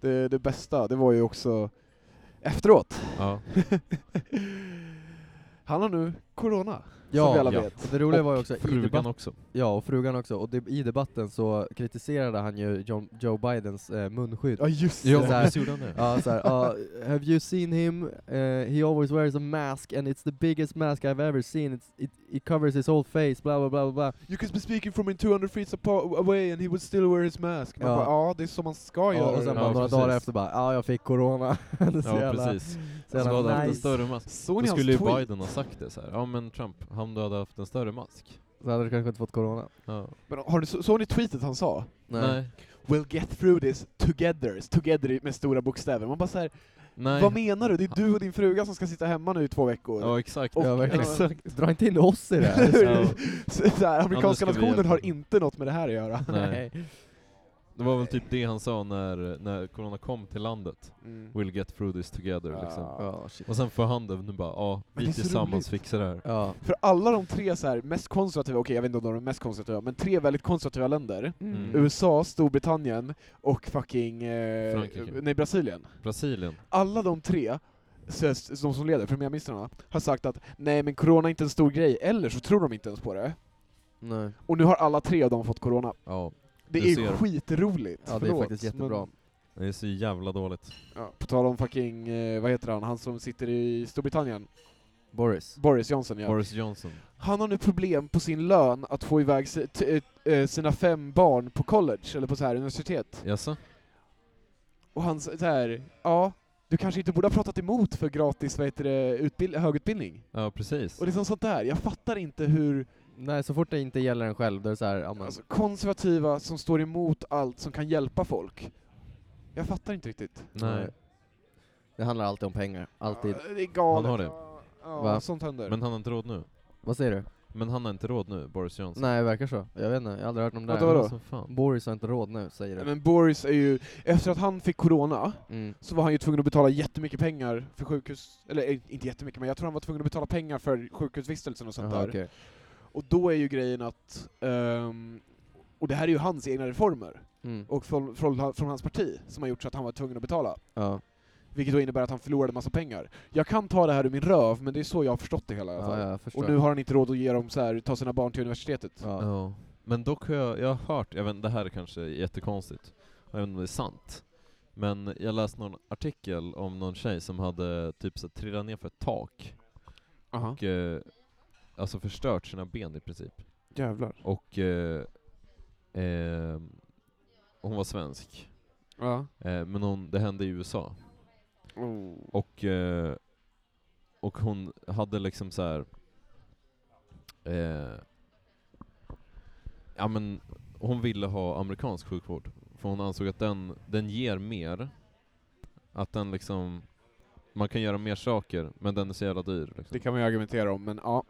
det, det bästa, det var ju också efteråt.
ja.
Han har nu corona, som
Ja,
vi alla
ja.
vet.
Det roliga var ju
Och
också i
frugan
debatten,
också.
ja, och frugan också, och det, i debatten så kritiserade han ju John, Joe Bidens eh, munskydd.
Ja just
Ja.
det.
Så här-
visst gjorde han det?
Ja, såhär, uh, have you seen him? Eh, he always wears a mask and it's the biggest mask I've ever seen. It's, it, it covers his whole face, bla bla bla bla.
You could be speaking from in 200 feet apart away and he would still wear his mask. Man
Ja.
bara, ja det är som man ska
Ja,
göra.
och sen
Ja,
bara några
precis.
dagar efter bara, ja jag fick corona. Det är så
Ja,
jävla-
precis.
så
Så
jävla
hade haft en
nice.
större mask.
Såg
Då
ni hans
skulle ju
tweet?
Biden ha sagt det så här. Ja men Trump, om du hade haft en större mask.
Så hade du kanske inte fått corona.
Ja.
Men har ni, så, såg ni tweetet han sa?
Nej.
We'll get through this together, together i- med stora bokstäver. Man bara så här,
Nej.
vad menar du? Det är du och din fruga som ska sitta hemma nu i två veckor.
Ja exakt.
Och-
ja, verkligen.
Exakt.
Dra inte in oss i det
Eller
här.
hur?
Ja.
Så, så här, amerikanska
Ja, nu ska vi
nationen har
hjälpa.
inte något med det här att göra.
Nej. Det var väl typ det han sa när, när corona kom till landet. We'll get through this together liksom.
Ja.
Ja, shit.
Och sen får han det, nu bara ja,
Men det
vi
är så
tillsammans
roligt.
fixar det här.
Ja.
För alla de tre så här, mest konservativa, okej jag vet inte om de är de mest konservativa, men tre väldigt konservativa länder.
Mm.
USA, Storbritannien och fucking... Eh,
Frankrike.
Nej, Brasilien.
Brasilien.
Alla de tre, så- s- de som leder, premiärministrarna, har sagt att nej men corona är inte en stor grej, eller så tror de inte ens på det.
Nej.
Och nu har alla tre av dem fått corona.
Ja.
Det
Du
är
ser.
skitroligt.
Ja, det är
Förlåt,
faktiskt jättebra.
Men,
Det är så jävla dåligt.
ja, på tal om fucking, eh, vad heter han, han som sitter i Storbritannien?
Boris.
Boris Johnson ja.
Boris Johnson.
Han har nu problem på sin lön att få iväg si- t- eh, sina fem barn på college, eller på så här universitet.
Jaså?
Och han s- så här, ja, du kanske inte borde ha pratat emot för gratis, vad heter det, utbild- högutbildning?
Ja precis.
Och liksom sånt där, jag fattar inte hur
Nej, så fort det inte gäller en själv, då är det såhär, ja men...
alltså, konservativa som står emot allt som kan hjälpa folk. Jag fattar inte riktigt.
Nej.
Det handlar alltid om pengar. Alltid.
Ja, Det är
Han
galet.
har det.
Ja, Ja,
Va?
sånt händer.
Men han har inte råd nu.
Alltså.
Vad säger du?
Men han har inte råd nu, Boris Johnson?
Nej, det verkar så. Jag vet inte, jag har aldrig hört om det
Vadå, vadå?
Som fan.
Boris har inte råd nu, säger
Nej,
det.
Men Boris är ju, efter att han fick corona,
Mm.
så var han ju tvungen att betala jättemycket pengar för sjukhus, eller eh, inte jättemycket, men jag tror han var tvungen att betala pengar för sjukhusvistelsen och sånt
Jaha,
där.
okej.
Och då är ju grejen att, ehm, och det här är ju hans egna reformer,
Mm.
och från, från, från hans parti, som har gjort så att han var tvungen att betala.
Ja.
Vilket då innebär att han förlorade massa pengar. Jag kan ta det här ur min röv, men det är så jag har förstått det hela i alla fall.
ja, jag förstår.
alltså, och nu har han inte råd att ge dem så här, ta sina barn till universitetet.
ja.
Ja. Men dock har jag, jag har hört, jag vet, det här kanske är jättekonstigt, jag vet inte om det är sant, men jag läste någon artikel om någon tjej som hade typ så här, trillat ner för ett tak
Aha.
och eh, alltså förstört sina ben i princip.
Jävlar.
Och eh, eh, hon var svensk,
Ja.
eh, men hon, det hände i USA.
Oh.
Och, eh, och hon hade liksom så här. Eh, ja men, hon ville ha amerikansk sjukvård. För hon ansåg att den, den ger mer. Att den liksom, man kan göra mer saker, men den är så jävla dyr. Liksom.
Det kan man ju argumentera om, men ja.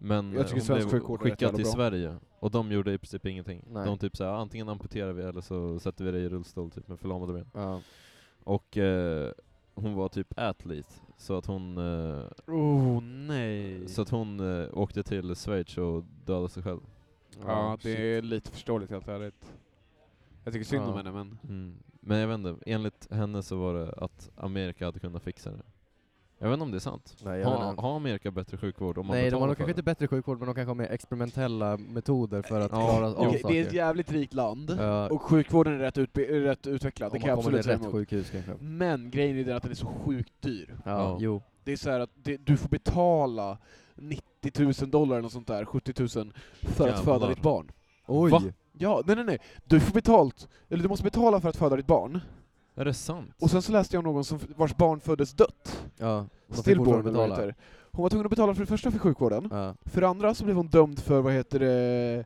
Men
Jag tycker
eh, hon
svensk
blev
sjukvård är rätt
skickad
jävla
till
bra.
Sverige, och de gjorde i princip ingenting.
Nej.
De typ såhär, antingen amputerar vi eller så sätter vi dig i rullstol typ med förlamade ben.
Ja.
Och eh, hon var typ atlet, så att hon eh,
Oh nej.
Så att hon eh, åkte till Schweiz och dödade sig själv.
Ja, det
shit.
är lite förståeligt helt ärligt. Jag tycker synd
Ja.
om henne, men...
Mm.
Men jag vet inte, enligt henne så var det att Amerika hade kunnat fixa det. Jag vet inte om det är sant.
Nej, jag
Har
menar-
ha Amerika bättre sjukvård om man
Nej, de
betalar
har nog
för
kanske inte
det?
bättre sjukvård, men de kanske har mer experimentella metoder för att
Ja.
klara av
Okej,
saker.
det är ett jävligt rikt land,
Ja,
och sjukvården är rätt, utbe- rätt utvecklad, det
om
kan jag
man kommer
absolut
till
säga
rätt
emot.
sjukhus kanske. Ja,
Men grejen är den att den är så sjukt dyr.
Ja.
jo.
Det är så här att det, du får betala 90 000 dollar eller något sånt där, 70 000, för att
Jävlar.
föda ditt barn.
Oj!
Va?
Ja, nej nej nej. Du får betalt, eller du måste betala för att föda ditt barn.
Är det sant?
Och sen så läste jag om någon som, vars barn föddes dött.
Ja. de fick
Stillborn
fortfarande
eller vad det heter. Hon var tvungen att betala för det första för sjukvården.
Ja.
För det andra så blev hon dömd för, vad heter det,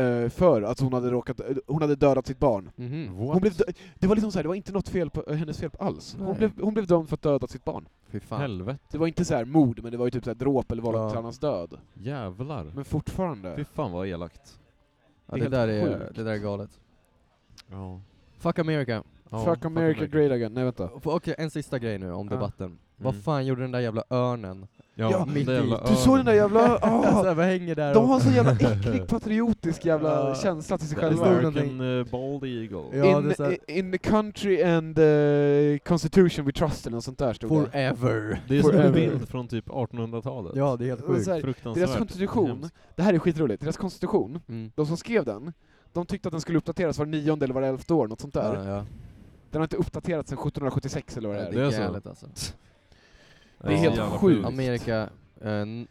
eh, för att hon hade, råkat, hon hade dödat sitt barn.
Mhm.
Hon blev dö- det var liksom så här, det var inte något fel på hennes fel alls.
Nej.
Hon blev, hon blev dömd för att döda sitt barn.
Fy fan.
Helvete,
Det var inte så här mord, men det var ju typ så här dråp eller vållande
Ja.
till annans död.
jävlar.
Men fortfarande.
Fy fan vad elakt.
Ja, det,
helt
där är,
sjukt.
det där är galet.
Ja.
Fuck America.
fuck America great again. Nej vänta.
F- Okej, en sista grej nu om
Ja.
debatten.
Mm.
Vad fan gjorde den där jävla örnen?
Ja,
Ja,
den
mitt
där
i.
jävla
Du såg den där
örnen.
jävla...
Så
ah,
här, vad hänger där
de
och-
har så jävla äcklig patriotisk jävla
Ja.
känsla till sig
Det
själva.
stod någon-
American eh, bald eagle.
Ja. det är så
in,
här-
i- in the country and the constitution we trust eller något sånt där stod det.
Forever.
Det är som en
Forever.
bild från typ 1800-talet.
Ja, det är helt
Och
sjukt.
så här,
Fruktansvärt.
deras konstitution,
Hemskt.
det här är skitroligt, deras konstitution,
Mm.
de som skrev den, de tyckte att den skulle uppdateras var nionde eller var elfte år, något sånt där.
Ja, ja.
Den har inte uppdaterats sedan 1776 eller vad det är.
Det är
så.
galet alltså.
Det
är
så
helt
jävla
sjukt.
Amerika... eh, n-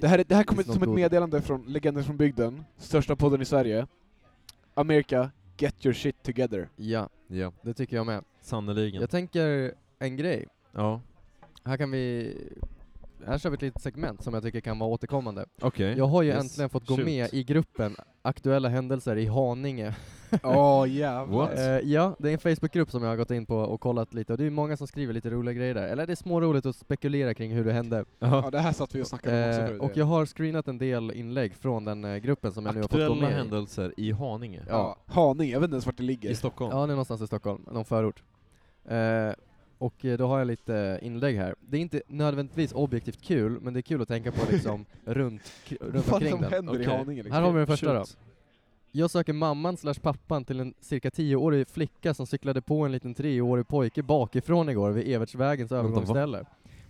Det här, det här
Finns
kommer som
något
ett
god?
meddelande från Legender från bygden, största podden i Sverige. Amerika, get your shit together.
Ja,
Ja,
det tycker jag med.
sannerligen.
Jag tänker en grej.
Ja,
Här kan vi... Här kör vi ett litet segment som jag tycker kan vara återkommande.
okej.
Jag har ju
Eh, Yes.
äntligen fått gå
Shoot.
med i gruppen Aktuella händelser i Haninge.
Åh jävlar.
What?
Eh, ja, det är en Facebookgrupp som jag har gått in på och kollat lite och det är många som skriver lite roliga grejer där. Eller det är småroligt att spekulera kring hur det hände.
Ja det här satt vi och snackade om också
Eh,
förut.
och jag har screenat en del inlägg från den eh, gruppen som jag nu har fått gå
Aktuella
med i.
händelser i Haninge.
ja. Haninge, jag vet inte ens vart det ligger.
I Stockholm.
Ja, det är någonstans i Stockholm, någon förort. Eh, och eh, då har jag lite inlägg här. Det är inte nödvändigtvis objektivt kul, men det är kul att tänka på liksom runt, k-
Vad
runt
fan
omkring
som
den.
händer i
Okej.
Haninge liksom?
Här har vi den första då.
Shoot.
Jag söker mamman slash pappan till en cirka 10-årig flicka som cyklade på en liten 3-årig pojke bakifrån igår vid Evertsvägens
Vänta, va?
övergångsställe.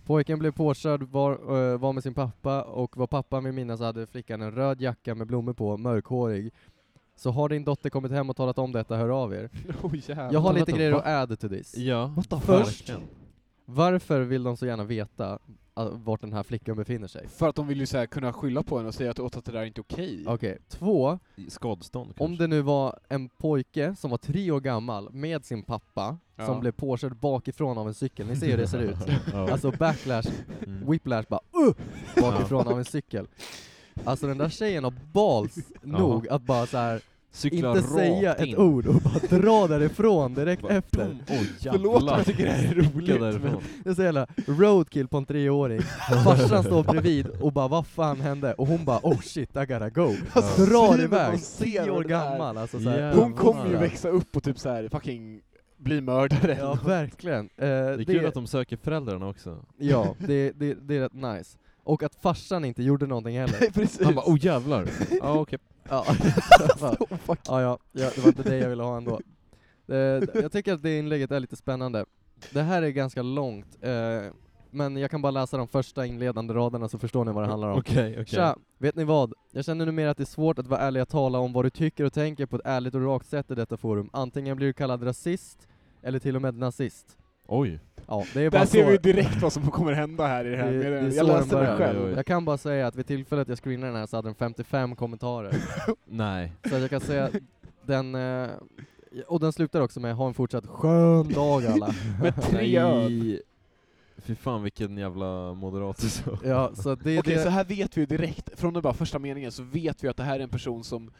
Pojken blev påkörd, var, eh, var med sin pappa och vad pappan vill minnas hade flickan en röd jacka med blommor på, mörkhårig. Så har din dotter kommit hem och talat om detta, hör av er.
Oh, jävlar.
Jag har
Vänta,
lite grejer
va?
att add to this.
Ja. What the
Först, varför vill de så gärna veta eh, vart den här flickan befinner sig?
För att de vill ju så här kunna skylla på henne och säga att, åt att det där är inte okej.
Okej, två,
Skadstånd
om
kanske.
det nu var en pojke som var tre år gammal med sin pappa
Ja.
som blev påkörd bakifrån av en cykel, ni ser hur det ser ut.
ja.
Alltså backlash,
Mm.
whiplash bara uh, bakifrån av en cykel. Alltså den där tjejen har balls nog att bara så här
Cykla
Inte
rakt
säga
in.
ett ord och bara dra därifrån direkt
Bara
efter.
dum. Oj,
Förlåt om
jävlar.
jag tycker det här är
Cykla
roligt, men
därifrån.
Det är så jävla roadkill på en treåring. Farsan står bredvid och bara vad fan hände? Och hon bara oh shit, I gotta go.
Alltså,
Drar
synen hon
iväg,
ser
tio
av
år
det där.
gammal alltså. Så här,
Jävlar.
hon kommer ju
Ja.
växa upp och typ så här fucking bli mördare.
Ja, verkligen. Eh,
Det är kul att de söker föräldrarna också.
Ja, det, det, det är rätt nice. Och att farsan inte gjorde någonting heller.
Nej, precis.
Han bara oh jävlar. Ja okej.
Ja,
oh, fuck.
ja, ja, ja det var inte det jag ville ha ändå. Eh, jag tycker att det inlägget är lite spännande. Det här är ganska långt, eh, men jag kan bara läsa de första inledande raderna så förstår ni vad det handlar om.
Okej, okej.
Tja, vet ni vad? Jag känner numera att det är svårt att vara ärlig och tala om vad du tycker och tänker på ett ärligt och rakt sätt i detta forum. Antingen blir du kallad rasist, eller till och med nazist.
Oj.
Ja, det är bara
Där ser
så.
vi ju direkt vad som kommer hända här i det här
Det- det är
med
så
Jag
den
läste det
börjar.
Oj, oj.
själv.
Jag kan bara säga att vid tillfället jag screenade den här så hade den 55 kommentarer.
Nej.
Så att jag kan säga att den... eh, Och den slutar också med ha en fortsatt skön dag alla.
Med tre öl.
Nej. Fy fan vilken jävla moderat du sa.
Ja, så att det är
Okej,
det.
så här vet vi ju direkt, från den bara första meningen, så vet vi att det här är en person som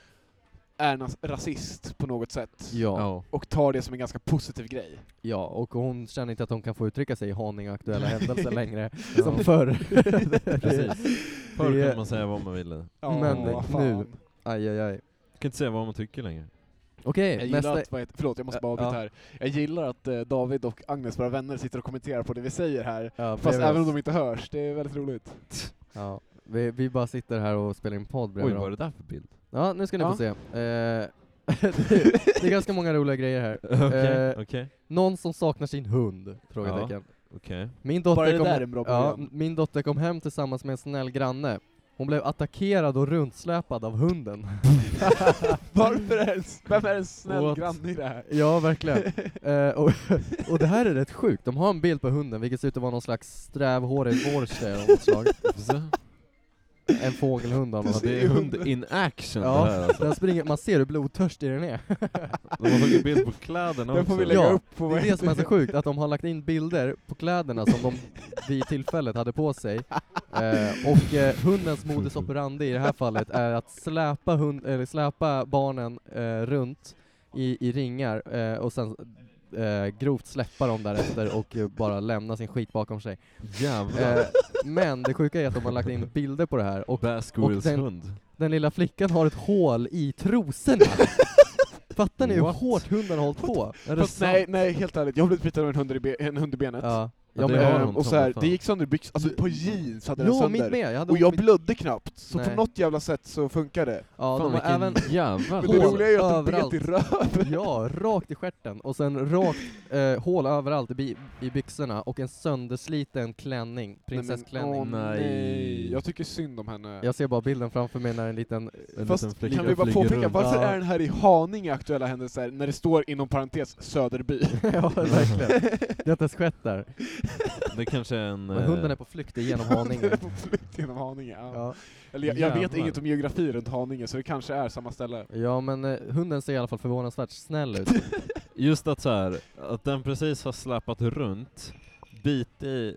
är nas- rasist på något sätt.
Ja,
Och tar det som en ganska positiv grej.
ja, och hon känner inte att hon kan få uttrycka sig i Haninge och aktuella händelser längre,
Ja.
som förr.
Precis. Förr
Det-
kunde man säga vad man ville.
Ja,
Men
vad fan.
nu- Aj, aj, aj.
Man kan inte säga vad man tycker längre.
Okej,
Jag
nästa...
gillar att, vad heter- förlåt, jag måste bara avbryta
Ja.
här. Jag gillar att eh, David och Agnes, våra vänner, sitter och kommenterar på det vi säger här.
Ja,
Fast
bredvid
även om
oss.
de inte hörs, det är väldigt roligt.
ja, vi, vi bara sitter här och spelar in podd
Oj,
bredvid
vad är
dem.
det där för bild?
Ja, nu ska ni få
Ja.
se. Eh, det, det är ganska många roliga grejer här.
Okej,
Eh,
okej,
Någon som saknar sin hund? Frågetecken.
okej.
Min dotter
Bara det
kom
där är en bra
ja,
program.
Min dotter kom hem tillsammans med en snäll granne. Hon blev attackerad och runtsläpad av hunden.
Varför är det en, vem är en snäll
What?
granne i det här?
Ja, verkligen. Eh, och, och det här är rätt sjukt. De har en bild på hunden, vilket ser ut att vara någon slags strävhårig vorster av något slag.
Så.
En fågelhund av
Ja,
något
det är hund in action det här
Ja,
alltså.
den springer, man ser hur blodtörstig den är.
De har tagit bild på kläderna
Den får vi
också.
lägga
Ja,
upp på
Det
vad
är det som är så
heter
sjukt, att de har lagt in bilder på kläderna som de vid tillfället hade på sig. Eh, och eh, hundens modus operandi i det här fallet är att släpa, hund, eller släpa barnen eh, runt i, i ringar eh, och sen eh, grovt släppa dem därefter och eh, bara lämna sin skit bakom sig.
Jävlar.
Eh, men det sjuka är att de har lagt in bilder på det här och
Baskervilles
och den-
hund.
den lilla flickan har ett hål i trosorna. Fattar ni hur
What?
hårt hunden har hållit på? Är
Fast nej, nej, helt ärligt. Jag har blivit biten av en hund i, be- en hund i benet.
Ja.
Ja,
Ja,
det
men-
har
Ehm,
hon
och
som
så här,
fan.
det gick sönder byxan, alltså på jeans hade den
Ja, mitt
sönder.
med. Jag hade
Och jag
mitt...
blödde knappt, så på
Nej.
något jävla sätt så funkar det.
Fan
Ja, de har
vilken
även...
jävla
Men det
Hål
roliga är ju att den
överallt.
bet i röven.
Ja, rakt i stjärten och sen rakt eh, hål överallt i, bi- i byxorna och en söndersliten klänning, prinsessklänning.
åh, nej.
Nej.
Jag tycker synd om henne.
Jag ser bara bilden framför mig när en liten...
En
Fast
liten flicka
Kan vi bara
flyger
påpeka,
runt.
varför
Ja.
är den här i Haninge aktuella händelser när det står inom parentes Söderby?
ja, verkligen. Det har inte ens skett där.
Det kanske är en... eh,
Men hunden är på flykt genom Haninge.
På flykt genom Haninge, ja.
Ja.
Eller jag, jag vet
Jävlar.
inget om geografi runt Haninge, så det kanske är samma ställe.
ja, men eh, hunden ser i alla fall förvånansvärt snäll ut.
Just att så här, att den precis har släpat runt, bit i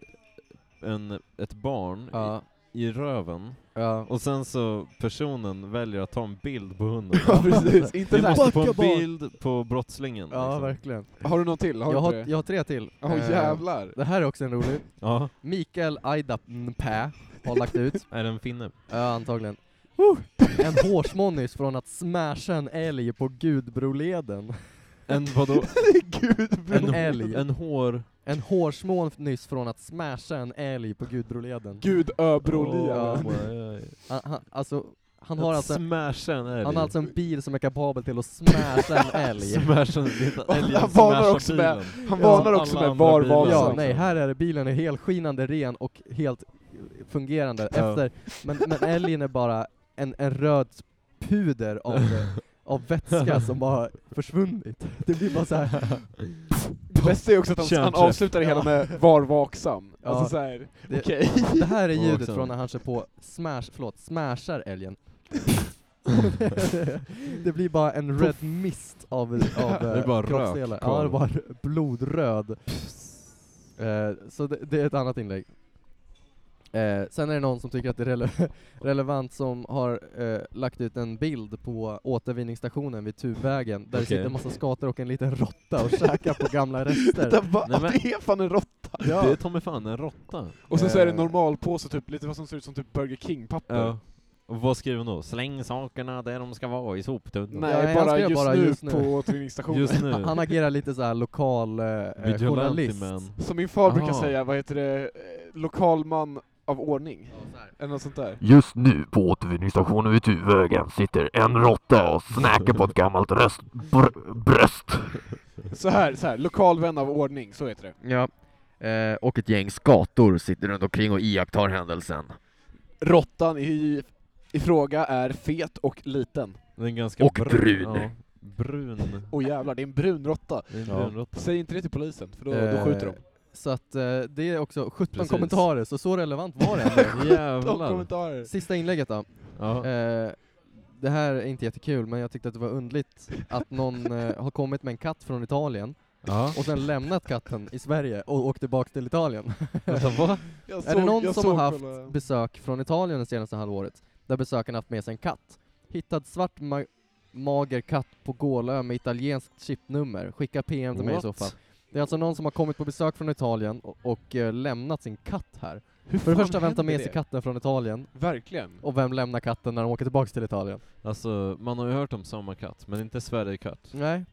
en, ett barn
Ja,
i, i röven,
ja.
och sen så personen väljer att ta en bild på hunden.
Ja, precis. Inte
Vi
så här,
måste få en
Backa barn.
bild på brottslingen.
ja
liksom.
verkligen.
Har du någon till? Har
Jag
du
har,
inte det?
jag har tre till.
Åh
Eh,
jävlar!
det här är också en rolig.
Ja,
Mikael Aidapää har lagt ut
är den finne?
Ja, antagligen. En hårsmånis från att smasha en älg på Gudbroleden.
En vadå?
Gud, bro.
En,
älg.
En hår...
En hårsmånis från att smasha en älg på Gudbroleden.
Gud
Ja.
Öbrolien.
Oh,
Han, han, alltså, han
han
har
har
alltså,
Smasha en älg.
han har alltså en bil som är kapabel till att smasha en älg.
Smasha en- älgen
Han varnar
smashar
också med-
bilen.
Han
Ja,
varnar också
alla
med
andra
var
bilar.
varsam.
Ja, nej, här är det, bilen är helskinande ren och helt fungerande
Ja.
efter, men, men älgen är bara en, en röd puder av, av vätska som bara försvunnit. Det blir bara så här.
Det bästa är också att han, han
Kärnträff.
avslutar det hela
Ja.
med var vaksam.
Ja.
Alltså såhär,
Det-
okej.
Det här är
Och
ljudet
också-
från när han kör på smash, förlåt, smashar älgen. det blir bara en red mist av, av
är bara rök
kroppsdelar. Ja,
kvar.
det är bara blodröd. Eh, så det, det är ett annat inlägg. Eh, sen är det någon som tycker att det är rele- relevant som har eh, lagt ut en bild på återvinningsstationen vid Tubvägen där det
Okej.
sitter en massa skator och en liten råtta och käkar på gamla rester.
Vänta, va?
Nej, men-
Det är fan en råtta!
Det är ta mig fan en råtta.
Och sen så är det
Eh.
normalpåse, typ, lite vad som ser ut som typ Burger King-papper.
Och vad skriver hon då? Släng sakerna där de ska vara, i soptunnan.
Nej,
Ja, jag
bara,
skrev
just,
bara
nu
just nu.
på återvinningsstationen.
Just nu.
Han han agerar lite så här lokal eh, eh,
Vigilante
journalist.
man.
Som min far brukar
Aha.
säga, vad heter det, eh, lokal man av ordning? Eller något sånt där.
Just nu på återvinningsstationen vid Tuvvägen sitter en råtta och snäker på ett gammalt röst, br- bröst.
Så här, så här, lokal vän av ordning, så heter det.
Ja. Eh, och ett gäng skator sitter runt omkring och iakttar händelsen.
Råttan i, i fråga är fet och liten.
Den är ganska
Och
brun.
brun.
Ja, brun.
Åh jävlar, det är en brun råtta.
Det är en
Ja.
brun råtta.
Säg inte det till polisen, för då,
Eh,
då skjuter de.
Så att eh, det är också 17
Precis.
kommentarer, så så relevant var det ändå.
De
Jävlar.
kommentarer.
Sista inlägget då.
Ja.
Eh, det här är inte jättekul, men jag tyckte att det var undligt att någon eh, har kommit med en katt från Italien
Ja.
och sen lämnat katten i Sverige och åkt tillbaka till Italien.
Vänta, vad?
Jag
är det någon
jag
som har
såg
haft
själva-
besök från Italien det senaste halvåret, där besökarna haft med sig en katt? Hittad svart ma- mager katt på Gålö med italienskt chipnummer. Skicka PM till mig i så
What?
fall. Det är alltså någon som har kommit på besök från Italien och, och eh, lämnat sin katt här.
Hur
För det
fan
första, vem tar
händer
med sig
det?
katten från Italien?
Verkligen.
Och vem lämnar katten när de åker tillbaka till Italien?
Alltså, man har ju hört om sommarkatt, men inte Sverigekatt.
Nej.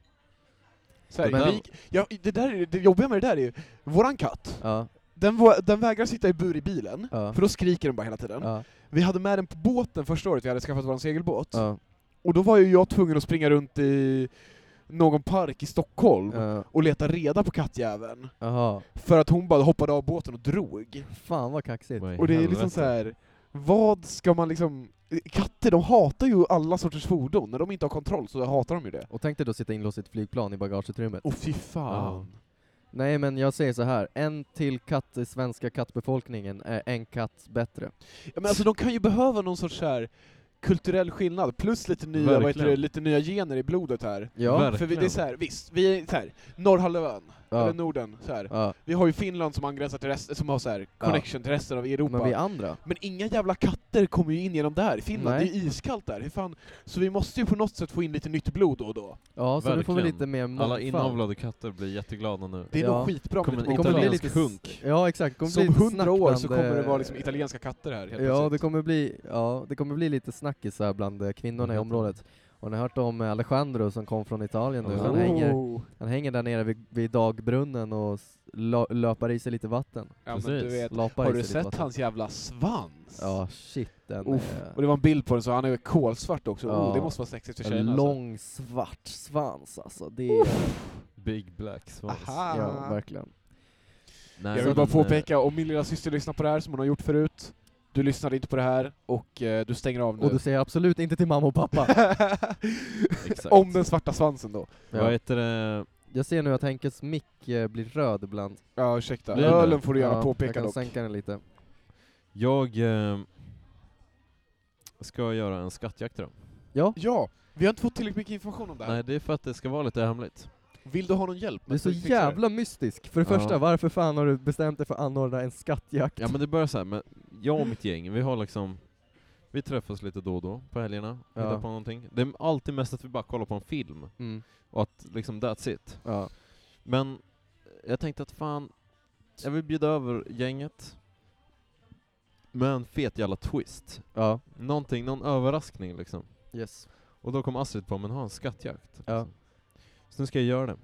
Så här,
Men-
vi, ja, det, där, är- det jobbiga med det där är ju, våran katt,
Ja,
den, vå- den vägrar sitta i bur i bilen,
ja,
för då skriker den bara hela tiden.
ja,
Vi hade med den på båten första året, vi hade skaffat våran segelbåt.
ja,
Och då var ju jag tvungen att springa runt i någon park i Stockholm
ja,
och leta reda på kattjäveln.
aha.
För att hon bara hoppade av båten och drog.
Fan vad kaxigt.
Vad i
Och det är
helvete?
liksom så här. vad ska man liksom... Katter, de hatar ju alla sorters fordon. När de inte har kontroll så hatar de ju det.
Och tänk dig då sitta inlåst i ett flygplan i bagageutrymmet.
Åh fy fan.
Nej men jag säger så här, en till katt i svenska kattbefolkningen är en katt bättre.
Ja, men alltså de kan ju behöva någon sorts så här kulturell skillnad, plus lite nya,
Verkligen.
vad heter det, lite nya gener i blodet här.
Ja.
Verkligen.
För vi, det är så här, visst, vi är så här, Norrhalvön,
ja.
eller Norden, så här.
ja.
Vi har ju Finland som angränsar till resten, som har så här
Ja.
connection till resten av Europa.
Men
Men,
vi andra?
inga jävla katter kommer ju in genom där, i Finland,
Nej.
det är ju iskallt där. Hur fan? Så vi måste ju på något sätt få in lite nytt blod då och då.
Ja, så du får vi
Verkligen.
lite mer
Alla
mångfald.
inavlade katter blir jätteglada nu.
Det är
Ja.
nog skitbra
Kommer
med lite
Det kommer bli
Italiensk
lite...
hunk.
Ja exakt, kommer bli
Som
lite
hundra år så
snackande-
kommer det vara liksom italienska katter här helt
eh, Ja, det
plötsligt.
kommer bli, ja, det kommer bli lite snackisar bland eh, kvinnorna i
Mm.
området. Och ni har hört om eh, Alejandro som kom från Italien nu. Han
Oh.
hänger, han hänger där nere vid, vid dagbrunnen och s- lo- löpar i sig lite vatten.
Ja, men du
Precis.
vet,
Lapar
har
i sig
du
lite
sett
vatten.
hans jävla svans?
Ja, shit. Den
Uff.
är-
Och det var en bild på den, så han är kolsvart också.
Ja.
Oh, det måste vara sexigt för
en
tjejerna. Alltså.
lång svart svans alltså. Det är,
Big black svans.
Aha.
ja, verkligen.
Nej,
Jag
men,
vill bara
eh,
påpeka, om min lilla syster lyssnar på det här, som hon har gjort förut, du lyssnade inte på det här, och eh, du stänger av nu.
Och du säger absolut inte till mamma och pappa.
Exakt.
om den svarta svansen då.
Vad heter det?
Jag ser nu att Henkes mick eh, blir röd ibland.
Ja, ursäkta.
Blir det?
Ölen får du gärna
Ja, Jag
påpeka
kan
dock.
sänka den lite.
Jag eh, ska göra en skattjakt idag.
Ja,
Ja, vi har inte fått tillräckligt mycket information om det här.
Nej, det är för att det ska vara lite hemligt.
Vill du ha någon hjälp?
du är
med
så
att fixa det?
jävla mystisk. För det
Ja.
första, varför fan har du bestämt dig för att anordna en skattjakt?
Ja men det börjar så här, men jag och mitt gäng, vi har liksom Vi träffas lite då och då på helgerna,
Ja.
hittar på någonting. Det är alltid mest att vi bara kollar på en film,
Mm.
och att liksom that's it.
Ja.
Men jag tänkte att fan, jag vill bjuda över gänget med en fet jävla twist.
ja,
Någonting, någon överraskning liksom.
yes.
Och då kom Astrid på, men ha en skattjakt.
Ja.
Liksom. Så nu ska jag göra det.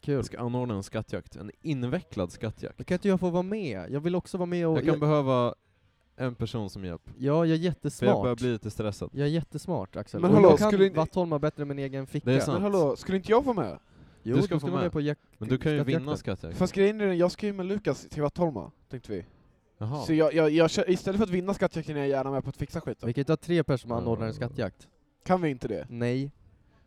Kul.
Jag ska anordna en skattjakt, en invecklad skattjakt.
Men Kan inte jag få vara med? Jag vill också vara med och...
Jag kan behöva en person som hjälp,
ja, jag är
för jag
jättesmart.
börjar bli lite stressad.
Jag är jättesmart Axel.
Men
Och
hallå,
jag kan
skulle ni-
Vattholma bättre än min egen ficka.
Det är
Men
sant.
hallå, skulle inte jag vara med?
Jo,
Du ska få
vara
med.
med på jack...
Men du kan ju
skattjakten.
vinna skattjakt.
Fast grejen är den, jag ska ju med Lukas till Vattholma, tänkte vi.
Jaha.
Så jag, jag, jag, kö- istället för att vinna skattjakten är jag gärna med på att fixa skiten.
Vi kan ju inte ha tre personer som
Ja.
anordnar en skattjakt.
Kan vi inte det?
Nej.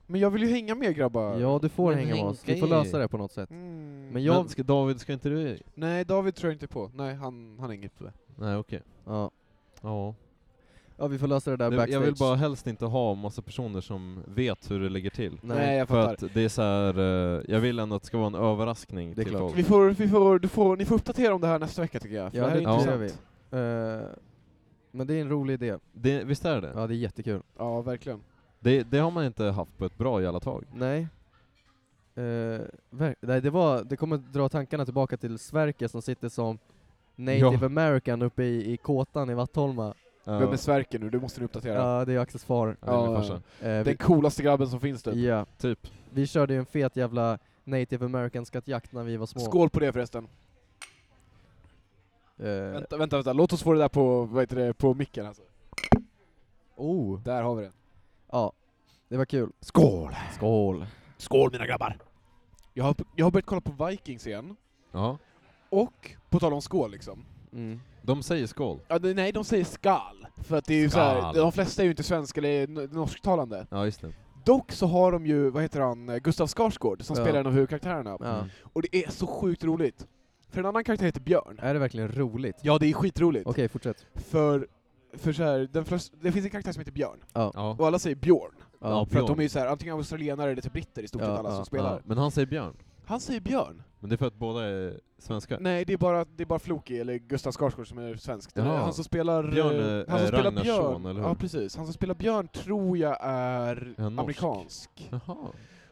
Men jag vill ju hänga med grabbar.
Ja, du får
Men
hänga med
häng
oss. Vi
i.
får lösa det på något sätt.
Mm.
Men
jag...
jag...
ska David, ska inte du...
Nej, David tror jag inte på. Nej, han, han hänger inte med.
Nej okej.
Ja.
Ja.
ja, vi får lösa det där
Det-
backstage.
Jag vill bara helst inte ha massa personer som vet hur det ligger till.
Nej.
Nej, jag
För
fattar.
att det är så här, eh, jag vill ändå att det ska vara en överraskning
Det är
till
klart.
folk.
Vi får, vi får, du får, ni får uppdatera om det här nästa vecka tycker jag. för
Ja,
det här
det
är
tycker
gör
intressant.
Eh, men det är en rolig idé.
Det, visst är det?
Ja, det är jättekul.
Ja, verkligen.
det? Det har man inte haft på ett bra jävla tag.
Nej. Eh, ver- nej, det, var, det kommer dra tankarna tillbaka till Sverker som sitter som native
Ja.
american uppe i, i kåtan i Vattholma.
Ja,
Vem är Sverker nu? Du måste nu uppdatera.
Ja, det är Axels far.
det är min
Ja,
farsa.
Eh,
Den coolaste grabben som finns typ.
vi, ja,
Typ.
vi körde ju en fet jävla native american skattjakt när vi var små.
Skål på det förresten.
Eh,
Vänta, vänta, vänta. Låt oss få det där på, vad heter det, på micken alltså.
oh,
Där har vi det.
ja. Det var kul.
Skål!
Skål.
Skål mina grabbar! Jag har, jag har börjat kolla på Vikings igen,
Ja.
och på tal om skål liksom.
Mm.
De säger skål.
Ja, det- nej, de säger skal. För att det är ju så här,
Skal.
de flesta är ju inte svenska eller n- norsktalande.
Ja, just det.
Dock så har de ju, vad heter han, eh, Gustav Skarsgård som
Ja.
spelar en av huvudkaraktärerna.
Ja.
Mm.
Och det är så sjukt roligt. För en annan karaktär heter Björn.
Är det verkligen roligt?
Ja, det är skitroligt.
Okej, fortsätt.
För, för så här, den flest, det finns en karaktär som heter Björn,
Ja.
och alla säger Björn.
Ja,
För att de
Björn.
är ju så här, antingen australienare eller typ britter i stort sett
Ja,
alla
ja,
som spelar.
Ja, men han säger Björn.
Han säger Björn.
Men det är för att båda är svenskar.
Nej, det är bara, det är bara Floki, eller Gustav Skarsgård som är svensk. Det är
Jaha.
Han som spelar... eh,
Björn, eh,
han som
Ragnars son, eller hur?
Ja, precis. Han som spelar Björn tror jag är
Är han norsk?
amerikansk.
Jaha.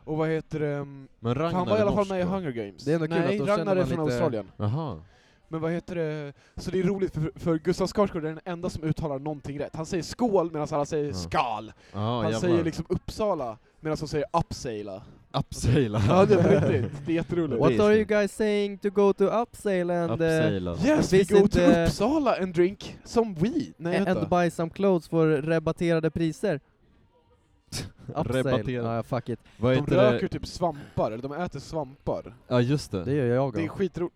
Och vad heter det?
Men Ragnar
Han var i alla
är
fall
norsk,
med i
va?
Hunger Games.
Det är ändå kul
Nej,
att då känner
Ragnar är
man
från
lite-
Australien.
Jaha.
Men vad heter det? Så det är roligt, för, för Gustav Skarsgård är den enda som uttalar någonting rätt. Han säger skål medan alla säger
Ja.
skal.
Ja,
Han
jävlar.
säger liksom Uppsala medan de säger Uppsala.
Upsala.
Ja, det är på riktigt. Det är jätteroligt.
What
Det är
are you
snyggt.
guys saying to go to Upsale
eh,
and, uh,
Upsala.
Yes, we
Visit,
go to
eh,
Uppsala and drink some weed. Nej,
and
vänta.
buy some clothes för rabatterade priser? Upsale.
Rabatterade.
Ja, fuck it.
Vad
De
heter
röker
det?
typ svampar, eller de äter svampar.
Ja, just det.
Det gör jag
Det är
också.
skitro-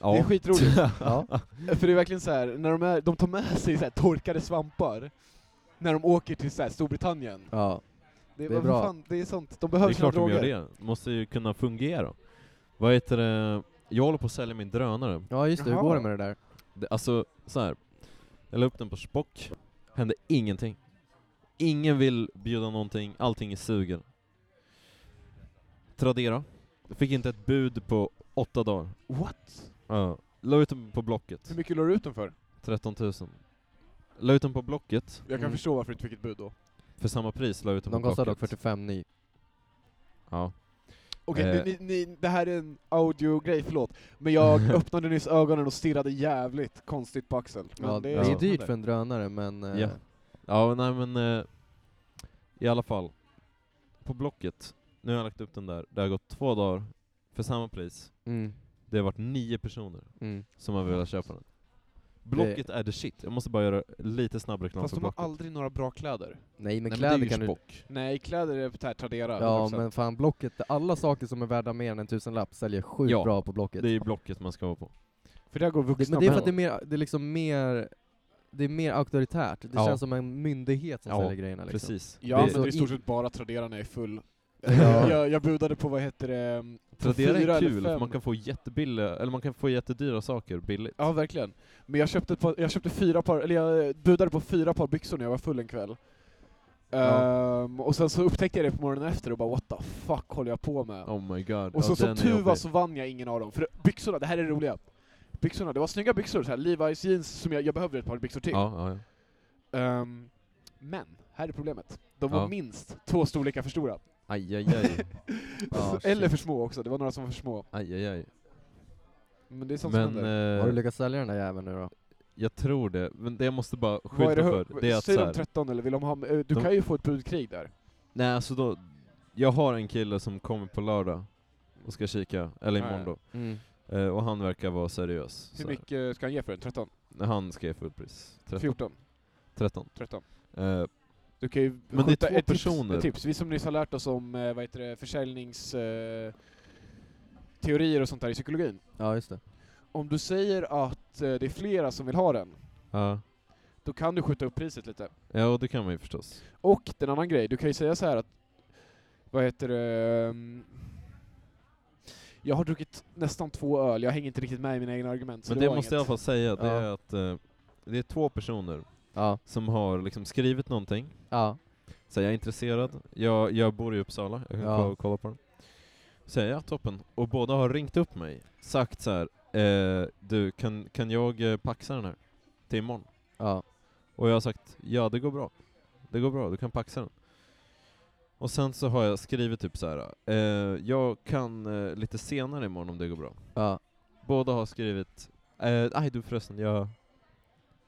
ja.
det är skitroligt.
Ja.
För det är verkligen så här, när de, är, de tar med sig så här, torkade svampar när de åker till så här, Storbritannien.
ja.
Det,
Det är
vad
bra.
Fan, det är sånt, de
Det
behöver
är
sina
klart de
droger.
gör det. Måste ju kunna fungera. Vad heter det? Jag håller på att sälja min drönare.
ja, just det. Hur
Jaha.
går det med det där?
Det, alltså, så här. Jag la upp den på Spock. Hände ingenting. Ingen vill bjuda någonting. Allting är sugen. Tradera. Fick inte ett bud på åtta dagar.
What?
Ja. La ut den på Blocket.
Hur mycket la du ut den för?
13 000. La ut den på Blocket.
Jag kan
Mm.
förstå varför du inte fick ett bud då.
För samma pris la ut den
De
på
kostar dock
Blocket.
45 ny.
Ja.
Okej,
Eh.
ni, ni, ni, det här är en audiogrej, förlåt. Men jag öppnade nyss ögonen och stirrade jävligt konstigt på Axel. Men
Ja,
det,
det
är
är
sånt som
dyrt
händer.
för en drönare, men... eh,
Ja. Ja, nej men eh, i alla fall. På Blocket, nu har jag lagt upp den där, det har gått två dagar för samma pris.
Mm,
Det har varit nio personer
mm.
som har velat köpa den. Blocket är the shit, jag måste bara göra lite snabb reklam
Fast
för
de har
Blocket.
aldrig några bra kläder.
Nej, men
Nej,
kläder
men det är
kan
ju
du...
spock.
Nej, kläder är så här Tradera.
Ja,
100%.
men fan Blocket, alla saker som är värda mer än en tusenlapp säljer sjukt
Ja,
bra på Blocket.
Det är ju Blocket man ska vara på.
För där går
Det,
vuxna
men det är för
män.
att det är mer, det är liksom mer, det är mer auktoritärt. Det
Ja.
känns som en myndighet som
Ja,
säljer grejerna liksom.
Precis.
Jag
Det-
så
använder i
i-
stort sett bara Tradera när jag är full.
Ja.
jag, jag budade på, vad heter det, på
Tradera
fyra
är
eller
kul,
fem.
för man kan få jättebilliga, eller man kan få jättedyra saker billigt.
Ja, verkligen. Men jag köpte, ett par, jag köpte fyra par, eller jag budade på fyra par byxor när jag var full en kväll. Ehm, och sen så upptäckte jag det på morgonen efter och bara what the fuck håller jag på med?
Oh my god.
och så
ja,
som
den är
tur var
jobbig.
så vann jag ingen av dem, för byxorna, det här är det roliga. Byxorna, det var snygga byxor, så här, Levi's jeans som jag, jag behövde ett par byxor till.
Ja, ja, ja.
Ehm, men, här är problemet. De var
Ja.
minst två storlekar för stora.
Aj, aj, aj.
Ah,
Eller
shit.
för små också, det var några som var för små.
aj, aj, aj.
Men det är sånt som
Men
händer.
Har du
eh,
lyckats sälja den där jäveln nu då?
jag tror det, men det jag måste bara
Vad
skylta
är det,
för, det är att
Säger
så
de
här,
13 eller vill de ha, eh, du
De-
kan ju få ett budkrig där.
Nej, alltså då... Jag har en kille som kommer på lördag och ska kika, eller
Ja, ja.
imorgon då. Eh, och han verkar vara seriös.
Hur
så här.
mycket ska han ge för den? 13?
Han skrev fullpris. 13.
14?
13.
13?
Eh,
Du kan ju
Men det är
skjuta
två
ett
personer.
Tips, ett tips. Vi som nyss har lärt oss om eh, vad heter det, försäljnings... Eh, teorier och sånt där i psykologin.
Ja, just det.
Om du säger att eh, det är flera som vill ha den,
ja.
då kan du skjuta upp priset lite.
ja, och det kan man ju förstås.
Och den annan grej, du kan ju säga så här att... Vad heter det... ehm, jag har druckit nästan två öl, jag hänger inte riktigt med i mina egna argument. så
Men det,
var
måste jag i
inget.
alla fall säga, det
Ja.
är att eh, det är två personer
Ja.
som har liksom skrivit någonting.
Ja.
Så jag är intresserad, jag, jag bor i Uppsala, jag kan
Ja.
kolla, kolla på den. Säger jag toppen, och båda har ringt upp mig, sagt så här. eh, du, kan, kan jag eh, paxa den här till imorgon?
Ja.
Och jag har sagt, ja det går bra. Det går bra, du kan paxa den. Och sen så har jag skrivit typ så här. Eh, jag kan eh, lite senare imorgon om det går bra.
Ja.
Båda har skrivit, eh, nej du förresten, jag, jag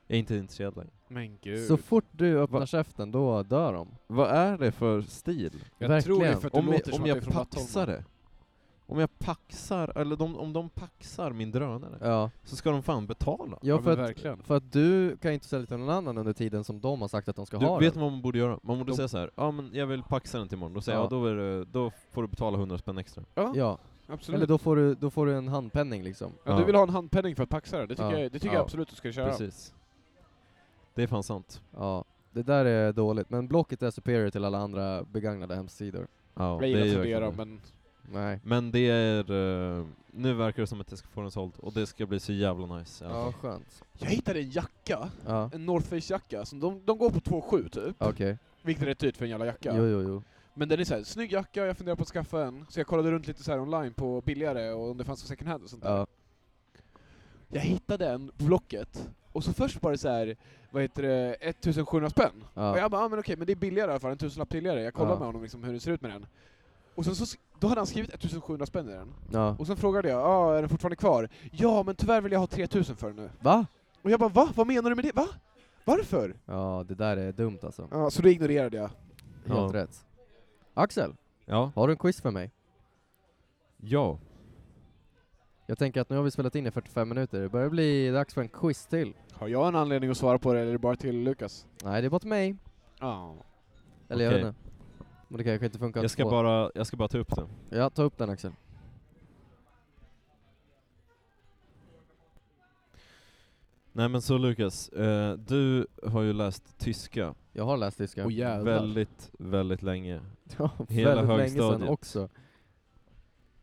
är inte intresserad längre.
Men gud.
Så fort du öppnar
Va-
käften, då dör de.
Vad är det för stil?
jag
verkligen.
tror det är för att det
Om,
låter
jag,
som
om
att det är
jag
från
paxar
Vattholma.
det? Om jag paxar, eller de, om de paxar min drönare,
Ja.
så ska de fan betala.
Ja,
men
för,
verkligen.
att, för att du kan inte sälja till någon annan under tiden som de har sagt att de ska ha
Du, vet
den.
vad man borde göra? Man borde
De-
säga så här, ja men jag vill paxa den till imorgon, då säger jag,
Ja.
ja då, är det, då får du betala 100 spänn extra.
Ja,
Absolut.
eller då får, du, då får du en handpenning liksom.
ja, Du vill ha en handpenning för att paxa det? Det tycker,
Ja.
jag, det tycker
Ja.
jag absolut du ska köra.
Precis. Det är fan sant.
Ja, det där är dåligt. Men Blocket är superior till alla andra begagnade hemsidor.
Ja,
Jag gillar
ju
att fundera
verkligen det.
men...
Nej.
Men det är... eh, nu verkar det som att jag ska få den såld, och det ska bli så jävla nice. i alla
Ja,
fall.
skönt.
Jag hittade en jacka,
Ja,
en North Face jacka, som de, de går på 2,7 typ.
okej.
Vilket är rätt dyrt för en jävla jacka.
Jo, jo, jo.
Men den är såhär, snygg jacka, jag funderar på att skaffa en. Så jag kollade runt lite så här online på billigare och om det fanns på second hand och sånt där.
Ja.
Jag hittade en på Blocket, och så först var det så här, vad heter det, 1700 spänn.
Ja.
Och jag bara, ah, men okej, men det är billigare i alla fall, en tusenlapp billigare. Jag kollar
Ja.
med honom liksom hur det ser ut med den. Och sen så, sk- då hade han skrivit 1700 spänn i den.
ja.
Och sen frågade jag, ah, är den fortfarande kvar? Ja, men tyvärr vill jag ha 3000 för den nu.
Va?
Och jag bara, va? Vad menar du med det? Va? Varför?
Ja, det där är dumt alltså.
Ja, så då ignorerade jag.
Helt rätt. Axel,
Ja.
har du en quiz för mig?
Ja.
Jag tänker att nu har vi spelat in i 45 minuter, det börjar bli dags för en quiz till.
Har jag en anledning att svara på det, eller är det bara till Lukas?
Nej, det är bara till mig.
Ja.
Eller jag
Okej.
vet inte. Men det kanske inte funkar
Jag ska,
på-
bara, jag ska bara ta upp den.
Ja, ta upp den Axel.
Nej men så Lukas, eh, du har ju läst tyska
Jag har läst tyska.
Och jävlar.
väldigt, väldigt länge.
ja,
hela
väldigt länge sedan
högstadiet.
också.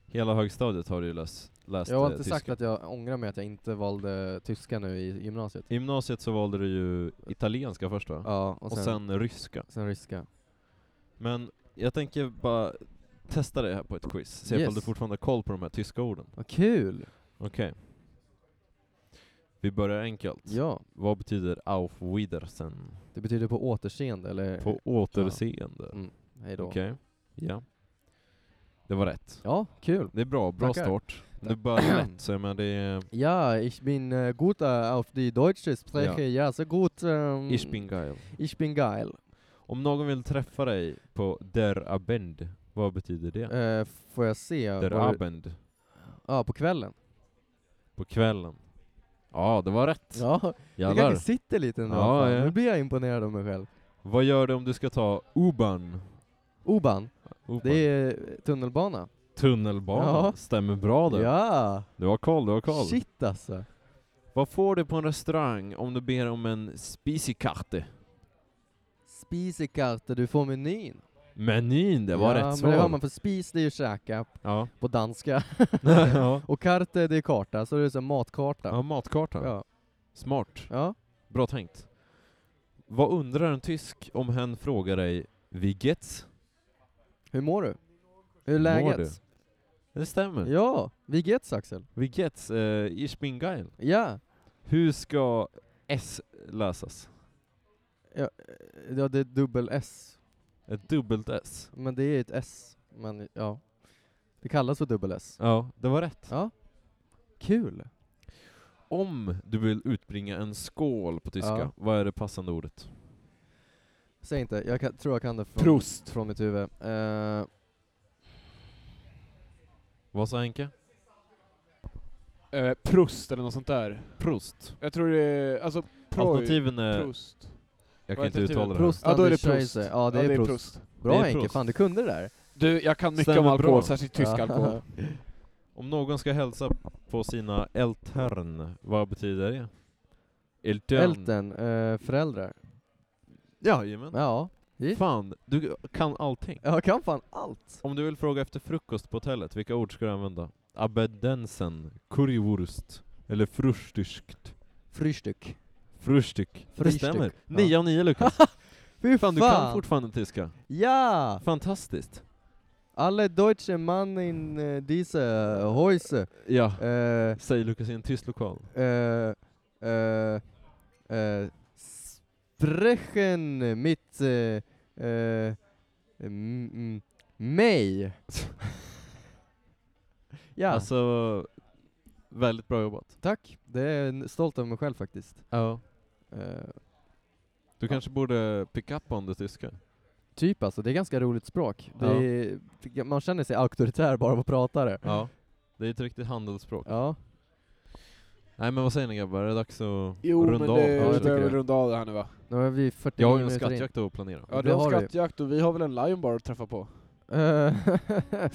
Hela högstadiet har du ju läst, läst
Jag har
eh,
inte
tyska.
sagt att jag ångrar mig att jag inte valde tyska nu i gymnasiet.
I gymnasiet så valde du ju italienska först va?
Ja, och
och,
sen,
sen,
sen,
ryska.
ryska.
Men jag tänker bara testa det här på ett quiz, se
Yes.
ifall du fortfarande har koll på de här tyska orden.
Vad kul!
Okej. Vi börjar enkelt.
Ja,
Vad betyder auf Wiedersehen?
det betyder på återseende eller
På återseende.
Mm. hejdå.
Okej. Ja. Det var rätt.
Ja, kul.
Det är bra, bra
Tackar.
start. Du började lätt, så jag menar det är...
Ja, ich bin äh, gut äh, auf die Deutsche spreche, ja, så gut. Ähm,
Ich bin geil.
ich bin geil.
Om någon vill träffa dig på Der Abend, vad betyder det?
Äh, får jag se?
der
vad du-
Abend,
Ja, på kvällen.
på kvällen. Ja, det var rätt.
Ja, det
Jävlar.
kanske sitter lite ändå.
Ja,
fan.
ja.
Nu blir jag imponerad av mig själv.
Vad gör du om du ska ta U-Bahn?
Oban,
U-Bahn.
det är eh, tunnelbana.
Tunnelbana.
Ja.
Stämmer bra där.
Ja!
Du har koll, du har koll.
Shit alltså.
Vad får du på en restaurang om du ber om en spisikarte?
Spisekarte, du får menyn.
Menyn, det var
ja,
rätt
men det har
svar.
man för spis, det är ju käka
Ja.
på danska.
ja.
Och karte, det är karta, så det är så här matkarta.
ja, matkarta.
ja.
Smart.
ja.
Bra tänkt. Vad undrar en tysk om hen frågar dig Wie geht's?
Hur mår du? Hur är
Mår
läget?
du? Det stämmer.
Ja, vi gets Axel.
Wie geht's? Uh, ich bin geil.
Ja.
Hur ska S läsas?
Ja, eh, ja, det är dubbel S.
Ett dubbelt S.
Men det är ett S. Men ja. Det kallas för dubbel S.
Ja, det var rätt.
Ja. Kul.
Om du vill utbringa en skål på tyska,
Ja.
vad är det passande ordet?
Säg inte, jag kan, tror jag kan det från,
Prost!
från mitt huvud. Eh,
Vad sa Henke?
Eh, prost eller något sånt där.
Prost.
Jag tror det är, alltså, proj,
Alternativen är...
prost.
eh, Jag
Vad
kan inte
är
uttala det här.
prost,
Ja, då är det
Anders
prost.
Scheisse. Ja, det är, prost. Bra
Det är
Henke,
prost.
fan du kunde det där.
Du, jag kan mycket om
Stämmer
alkohol,
bra.
särskilt tysk
Ja.
alkohol.
Om någon ska hälsa på sina Eltern, vad betyder det? Eltern.
Elten, eh, föräldrar.
Jajamän.
Ja,
Fan, du kan allting.
jag kan fan allt.
Om du vill fråga efter frukost på hotellet, vilka ord ska du använda? Abedensen, currywurst eller frustiskt?
Frühstück.
Frustik. Det
Frühstück.
stämmer.
Ja.
Nio av nio Lukas.
Fy
Fan, du kan fortfarande tyska.
Ja!
Fantastiskt.
Alle deutsche Mannen äh, diese Häuser.
Ja,
Äh,
säger Lukas i en tyst lokal.
äh, äh, äh, sprechen mit äh, äh, m- m- mig. ja,
Alltså, väldigt bra jobbat.
tack. Det är en- stolt över mig själv faktiskt.
Ja.
Eh,
Du kanske borde pick up on det tyska.
typ alltså, det är ganska roligt språk. Det
Ja.
är, man känner sig auktoritär bara av att prata det.
Ja. Det är ett riktigt handelsspråk.
Ja,
Nej men vad säger ni grabbar, är det dags att
Jo
runda
men
av?
det,
Ja, jag
vi
kanske?
tycker
behöver väl
det.
runda av det här nu va?
nu har vi 40
jag har ju en
minuter in.
skattjakt att planera.
Ja
Det
det är
har vi.
skattjakt och vi har väl en lion bar att träffa på.
Eh,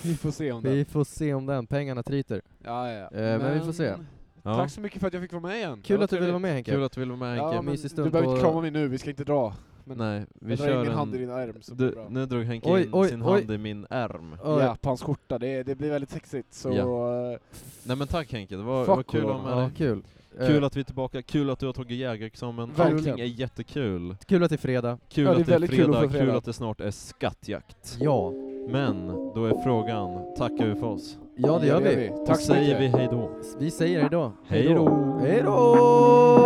Vi får se om det.
vi får se om den, pengarna tryter.
Ja, ja, ja.
Eh, men vi får se.
Ja.
Tack så mycket för att jag fick vara med igen. Det
Kul att du ville
trevligt.
vara med Henke.
Kul att du ville vara med Henke.
Ja, men
mysig
Du
stund
behöver inte
på-
krama mig nu, vi ska inte dra. men-
Nej, vi
Jag drar in
kör
min hand i
en...
din arm så blir det
Du,
bra.
nu drog Henke
Oj,
in
oj,
sin
oj.
hand i min ärm.
Oj.
Ja, på hans skjorta. Det, det blir väldigt sexigt. Så, eh,
Nej men tack Henke, det var, det
Fuck
var kul att ha med
Ja,
dig.
kul. Eh,
Kul att vi är tillbaka, kul att du har tagit jägarexamen.
Verkligen.
Allting är jättekul.
kul att det är fredag.
Kul
Ja, det är
att det är
väldigt kul att
fredag,
få
kul,
fredag.
att det snart är skattjakt.
Ja.
Men, då är frågan, tackar vi för oss?
Ja, det gör vi.
Tack
Då
så
säger
mycket.
vi hejdå.
Vi säger hej då.
Hej då.
Hej då!